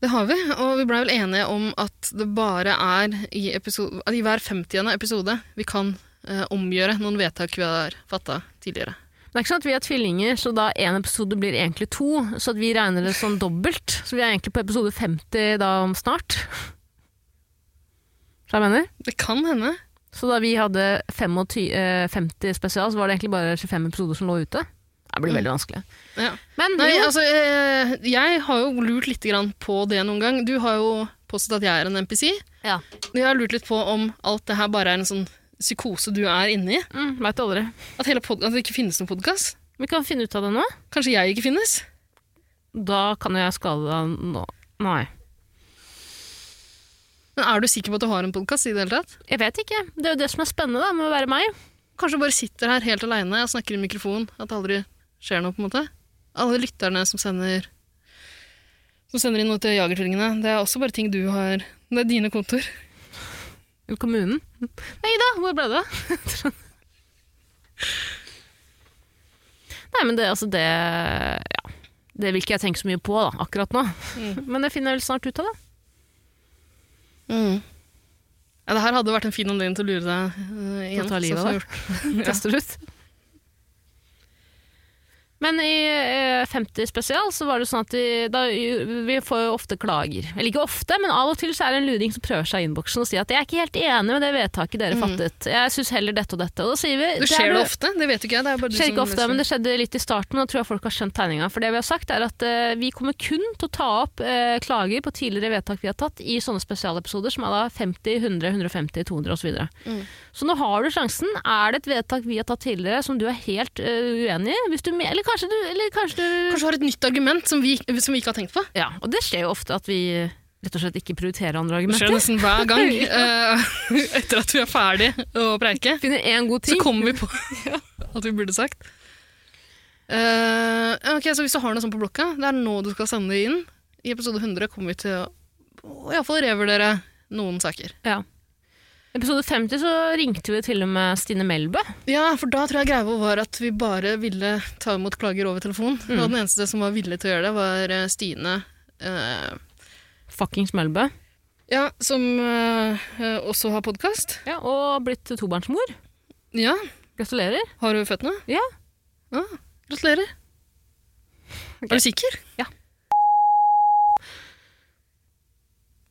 Det har vi, og vi blei vel enige om at det bare er i, episode, at i hver 50. episode vi kan eh, omgjøre noen vedtak vi har fatta tidligere. Det er ikke sånn at vi er tvillinger, så da én episode blir egentlig to. Så at vi regner det som dobbelt. Så vi er egentlig på episode 50 da om snart. Så jeg mener? Det kan hende. Så da vi hadde 25, eh, 50 spesial, så var det egentlig bare 25 episoder som lå ute. Det blir veldig vanskelig. Ja. Men Nei, jo, altså, eh, jeg har jo lurt litt grann på det noen gang. Du har jo påstått at jeg er en NPC. Ja. Jeg har lurt litt på om alt det her bare er en sånn psykose du er inni. mm, veit aldri. At, hele pod at det ikke finnes noen podkast. Vi kan finne ut av det nå. Kanskje jeg ikke finnes? Da kan jeg skade deg nå. Nei. Men er du sikker på at du har en podkast i det hele tatt? Jeg vet ikke. Det er jo det som er spennende da, med å være meg. Kanskje du bare sitter her helt aleine og snakker i mikrofon. At det aldri skjer noe, på en måte. Alle lytterne som sender, som sender inn noe til Jagertvillingene, det er også bare ting du har Det er dine kontor. I kommunen. Nei da, hvor ble det? Nei, men det, altså det ja. Det vil ikke jeg tenke så mye på da, akkurat nå. Men det finner jeg vel snart ut av det. Mm. Ja, det her hadde vært en fin anledning til å lure deg eh, igjen. ta livet sånn av som deg. Tester ut. Men i eh, 50 spesial så var det sånn at vi, da, vi får jo ofte klager. Eller ikke ofte, men av og til så er det en luring som prøver seg i innboksen og sier at jeg er ikke helt enig med det vedtaket dere fattet. Jeg syns heller dette og dette. Og Mm. da sier vi Det er skjer det du- ofte, det vet jo ikke jeg. Det er bare du skjer ikke som ofte, men det skjedde litt i starten. og Da tror jeg folk har skjønt tegninga. For det vi har sagt, er at eh, vi kommer kun til å ta opp eh, klager på tidligere vedtak vi har tatt i sånne spesialepisoder som er da 50, 100, 150, 200 osv. Så, videre. Mm. så nå har du sjansen. Er det et vedtak vi har tatt tidligere som du er helt eh, uenig i? Hvis du, me- eller kanskje du, eller kanskje du Kanskje du har et nytt argument som vi, som vi ikke har tenkt på? Ja, og det skjer jo ofte at vi rett og slett ikke prioriterer andre Det skjer argumenter. nesten hver gang eh, etter at vi er ferdig å preike. Finner én god Så ting. kommer vi på ja, at vi burde sagt. Eh, ok, Så hvis du har noe sånt på blokka, det er nå du skal sende det inn. I episode 100 kommer vi til å iallfall revurdere noen saker. Ja. Episode 50 så ringte vi til og med Stine Melbø. Ja, for da tror jeg greia vår var at vi bare ville ta imot klager over telefon. Og den eneste som var villig til å gjøre det, var eh, Stine. eh, Fuckings Melbø. ja, som eh, eh, også har podkast. Ja, og blitt tobarnsmor. Ja, Gratulerer. har du født noe? Ja. Ja, gratulerer. Er du sikker?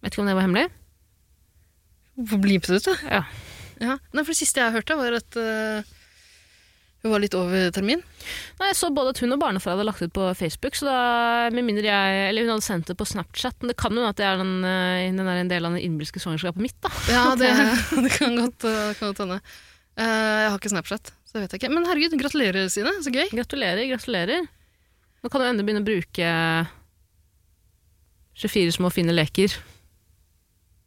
Vet ikke om det var hemmelig. Hvorfor blipet det ut, da? Ja. Ja. Nei, for det siste jeg hørte, var at eh, hun var litt over termin. Nei, Jeg så både at hun og barnefar hadde lagt ut på Facebook, så da, med mindre jeg, eller hun hadde sendt det på Snapchat, men det kan jo hende at det er den, eh, den er en del av det innbilske svangerskapet mitt, da. Ja, det, det kan godt eh, kan godt hende. Eh, jeg har ikke Snapchat, så det vet jeg ikke. Men herregud, gratulerer, Sine. Så gøy. Gratulerer, gratulerer. Nå kan du endelig begynne å bruke 24 små fine leker.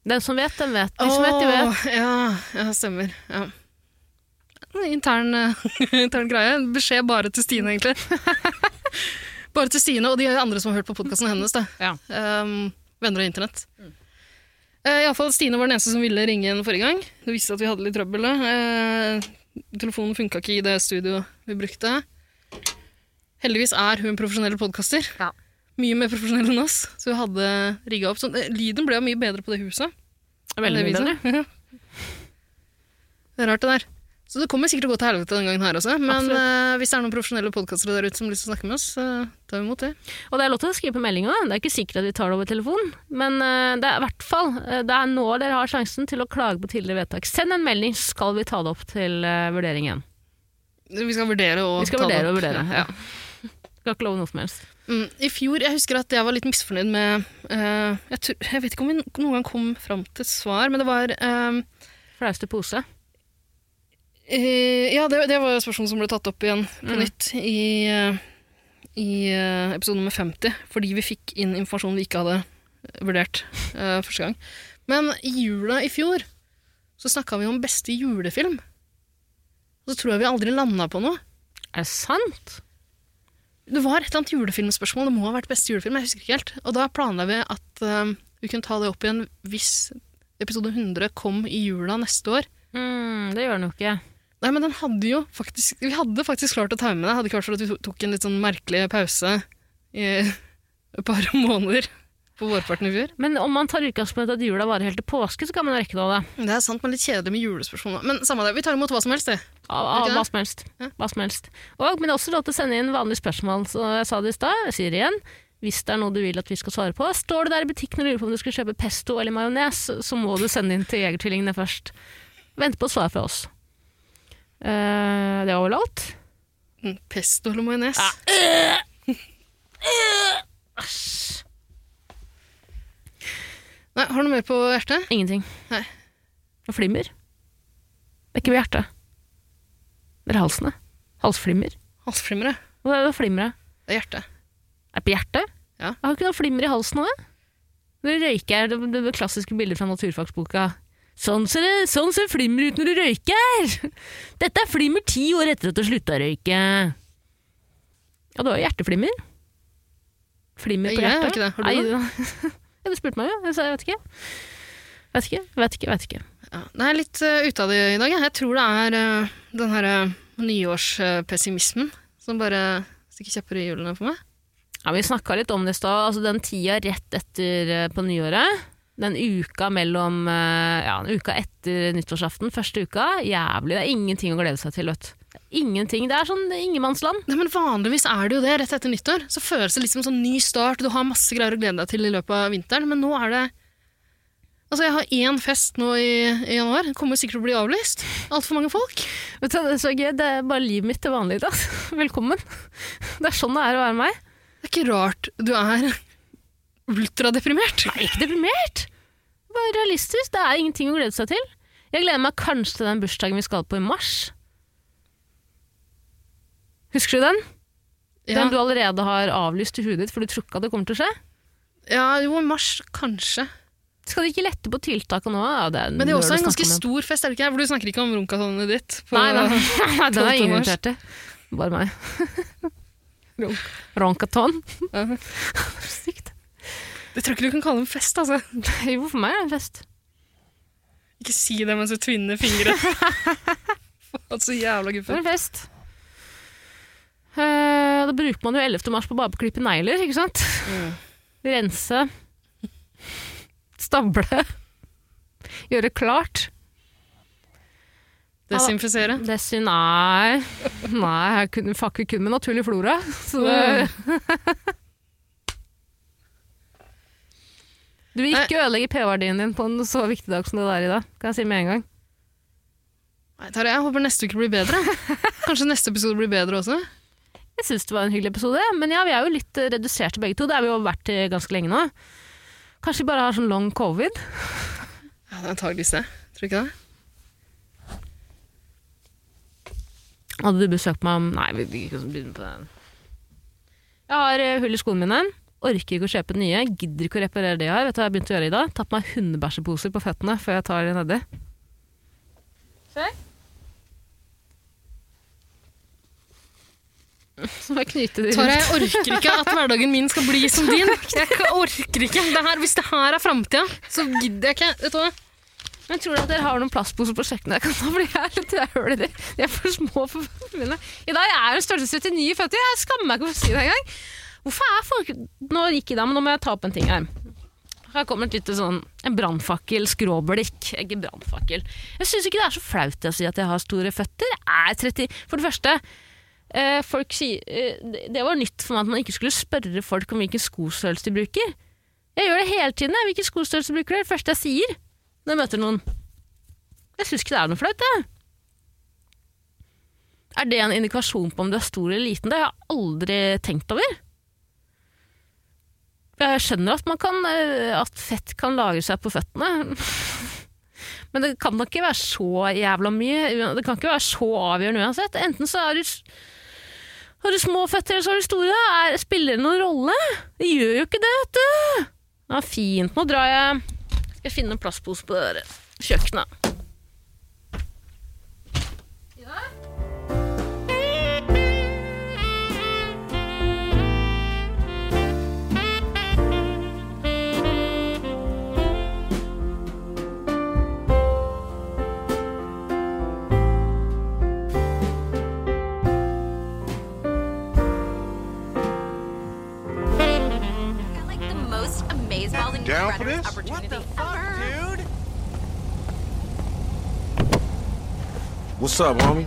Den som vet, den vet. De som vet, de vet. Åh, Ja, ja, stemmer. Ja. Intern, eh, intern greie. Beskjed bare til Stine, egentlig. bare til Stine og de andre som har hørt på podkasten hennes. Da. Ja. Um, venner og internett. Mm. Eh, i alle fall, Stine var den eneste som ville ringe igjen forrige gang. Det visste at vi hadde litt trøbbel. da. Eh, telefonen funka ikke i det studioet vi brukte. Heldigvis er hun profesjonell podkaster. Ja. Mye mer profesjonell enn oss. Så hun hadde rigga opp sånn. Eh, Lyden ble jo mye bedre på det huset. Veldig mye bedre. bedre. sånn, det er rart, det der. Så det kommer sikkert til å gå til helvete denne gangen her også. Men eh, hvis det er noen profesjonelle podkastere der ute som har lyst til å snakke med oss, så tar vi imot det. Og det er lov til å skrive på meldinga, det er ikke sikkert at vi tar det over telefon, men eh, det er i hvert fall eh, det er nå dere har sjansen til å klage på tidligere vedtak. Send en melding, så skal vi ta det opp til eh, vurdering igjen. Vi skal vurdere å Vi skal ta det vurdere opp. og vurdere. Ja. Ja. Skal ikke love noe som helst. Mm, I fjor, jeg husker at jeg var litt misfornøyd med eh, jeg, tror, jeg vet ikke om vi noen gang kom fram til svar, men det var eh, Flauste pose. eh, Ja, det, det var jo et spørsmål som ble tatt opp igjen på nytt i, eh, i eh, episode nummer 50, fordi vi fikk inn informasjon vi ikke hadde vurdert eh, første gang. Men i jula i fjor så snakka vi om beste julefilm. Og så tror jeg vi aldri landa på noe. Er det sant? Det var et eller annet julefilmspørsmål. Det må ha vært beste julefilm. jeg husker ikke helt. Og da planla vi at eh, vi kunne ta det opp igjen hvis episode 100 kom i jula neste år. Mm, det gjør den jo ikke. Nei, men den hadde jo faktisk Vi hadde faktisk klart å time det. Hadde ikke vært for at vi tok en litt sånn merkelig pause i et par måneder på vårparten i fjor. Men om man tar utgangspunkt i at jula varer helt til påske, så kan man jo rekke noe av det. Det er sant, men litt kjedelig med julespørsmål. nå. Men samme det, vi tar imot hva som helst, det. Av, av, Ikke det? hva som helst. Ja. Hva som helst. Og, men det er også lov til å sende inn vanlige spørsmål. Så jeg sa det i stad, jeg sier det igjen. Hvis det er noe du vil at vi skal svare på, står du der i butikken og lurer på om du skal kjøpe pesto eller majones, så må du sende inn til Jegertvillingene først. Vent på svar fra oss. Eh, det var vel alt? Mm, Pesto eller majones. Nei, har du noe mer på hjertet? Ingenting. Nei. Og flimmer. Det er ikke ved hjertet. Det er halsene. Halsflimmer. Halsflimmer, ja. Hva er det flimmeret? Det er hjertet. Er det på hjertet? Ja. Jeg har ikke noe flimmer i halsen av det. Når du røyker, det, det, det klassiske bildet fra naturfagsboka. Sånn ser, det, sånn ser flimmer ut når du røyker! Dette er flimmer ti år etter at du slutta å røyke. Ja, du har jo hjerteflimmer. Flimmer på Jeg har hjertet. ikke det. Har du det? det? ja, du spurte meg jo. Jeg sa jeg vet ikke. Vet ikke, vet ikke, vet ikke. Ja. Nei, litt eh, ute av det i dag. jeg. Jeg tror det er eh, den her eh, nyårspessimismen som bare stikker kjepper i hjulene for meg. Ja, Vi snakka litt om det i stad. Altså, den tida rett etter eh, på nyåret, den uka mellom eh, Ja, den uka etter nyttårsaften, første uka, jævlig. Det er ingenting å glede seg til, vet du. Ingenting. Det er sånn ingenmannsland. Nei, men Vanligvis er det jo det rett etter nyttår. Så føles det litt som en sånn ny start. Du har masse greier å glede deg til i løpet av vinteren, men nå er det Altså, Jeg har én fest nå i, i januar. Den kommer sikkert til å bli avlyst. Altfor mange folk. Vet du, hva, Det er så gøy. Det er bare livet mitt til vanlig. Da. Velkommen. Det er sånn det er å være meg. Det er ikke rart du er ultradeprimert. Jeg er ikke deprimert. Bare realistisk. Det er ingenting å glede seg til. Jeg gleder meg kanskje til den bursdagen vi skal på i mars. Husker du den? Ja, Den du allerede har avlyst i huet ditt, for du tror ikke at det kommer til å skje? ja jo, i mars, kanskje. Skal de ikke lette på tiltakene nå? Ja, det er Men det er også nerd å en ganske snakke om. stor fest, er det ikke? For du snakker ikke om runkasonnet ditt. på- Nei, nei, nei den er ingen 12. mars. invitert til. Bare meg. Ronkaton. Ja. Sykt. Det tror jeg ikke du kan kalle en fest, altså. Jo, for meg er det en fest. Ikke si det mens du tvinner fingre. Faen, så jævla Det guffe. er en fest. Eh, da bruker man jo 11. mars på bare å klippe negler, ikke sant? Mm. Rense. Stable. Gjøre klart. Desinfisere. Det synd, nei. Nei, jeg kunne, fucker kun med naturlig flora. Så det... Du vil ikke ødelegge P-verdien din på en så viktig dag som det der i dag. Kan jeg si med en gang. Nei, Tarjei, jeg håper neste uke blir bedre. Kanskje neste episode blir bedre også. Jeg syns det var en hyggelig episode, men ja, vi er jo litt eh, reduserte begge to. Det har vi jo vært eh, ganske lenge nå. Kanskje vi bare har sånn long covid? Ja, det er antageligvis det. Tror du ikke det? Hadde du besøkt meg om Nei, vi vi kan ikke begynne på den. Jeg har eh, hull i skoene mine. Orker ikke å kjøpe nye. Gidder ikke å reparere det jeg har. Vet du hva jeg begynte å gjøre i dag? Tatt meg hundebæsjeposer på føttene før jeg tar de nedi. Så må jeg knyte de Tarjei, rundt. jeg orker ikke at hverdagen min skal bli som din. Jeg kan- orker ikke. Det her, hvis det her er framtida, så gidder jeg ikke. Vet du hva? Men tror dere at dere har noen plastposer på kjøkkenet jeg kan ta? Fordi jeg er litt jeg hører det. De er for små for føttene mine. I dag er jeg en størrelse 39 i føtter. Jeg skammer meg ikke for å si det engang. Hvorfor er folk Nå gikk jeg da, men nå må jeg ta opp en ting her. Her kommer et lite sånn En brannfakkel, skråblikk. Eh, Ikke brannfakkel. Jeg syns ikke det er så flaut å si at jeg har store føtter. Jeg er 30 For det første eh, folk sier, eh, det- Det var nytt for meg at man ikke skulle spørre folk om hvilken skostørrelse de bruker. Jeg gjør det hele tiden. jeg. Hvilken skostørrelse bruker du? Det er det første jeg sier når jeg møter noen. Jeg syns ikke det er noe flaut, jeg. Er det en indikasjon på om du er stor eller liten? Det har jeg aldri tenkt over. Jeg skjønner at, man kan, eh, at fett kan lagre seg på føttene. Men det kan da ikke være så jævla mye. Det kan ikke være så avgjørende uansett. Enten så er du, s- har du små føtter, eller så har du store. Er, spiller det noen rolle? Det gjør jo ikke det, vet du. Ja, fint. Nå drar jeg Skal jeg finne en plastpose på det der kjøkkenet. down for this? What the fuck, dude? What's up, homie?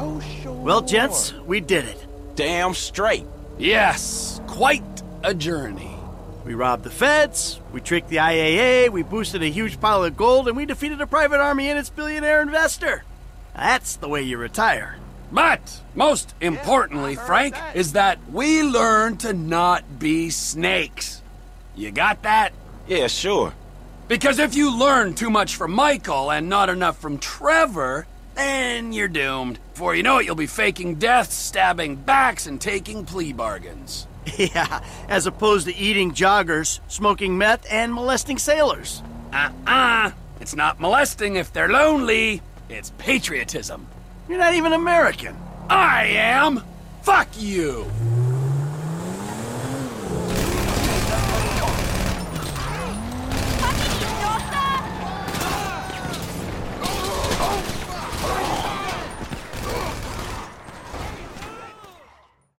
Oh, sure. Well, gents, we did it. Damn straight. Yes, quite a journey. We robbed the feds, we tricked the IAA, we boosted a huge pile of gold, and we defeated a private army and its billionaire investor. That's the way you retire. But most importantly, Frank, is that we learn to not be snakes. You got that? Yeah, sure. Because if you learn too much from Michael and not enough from Trevor, then you're doomed. Before you know it, you'll be faking deaths, stabbing backs, and taking plea bargains. yeah, as opposed to eating joggers, smoking meth, and molesting sailors. Uh uh It's not molesting if they're lonely, it's patriotism. You're not even American. I am! Fuck you!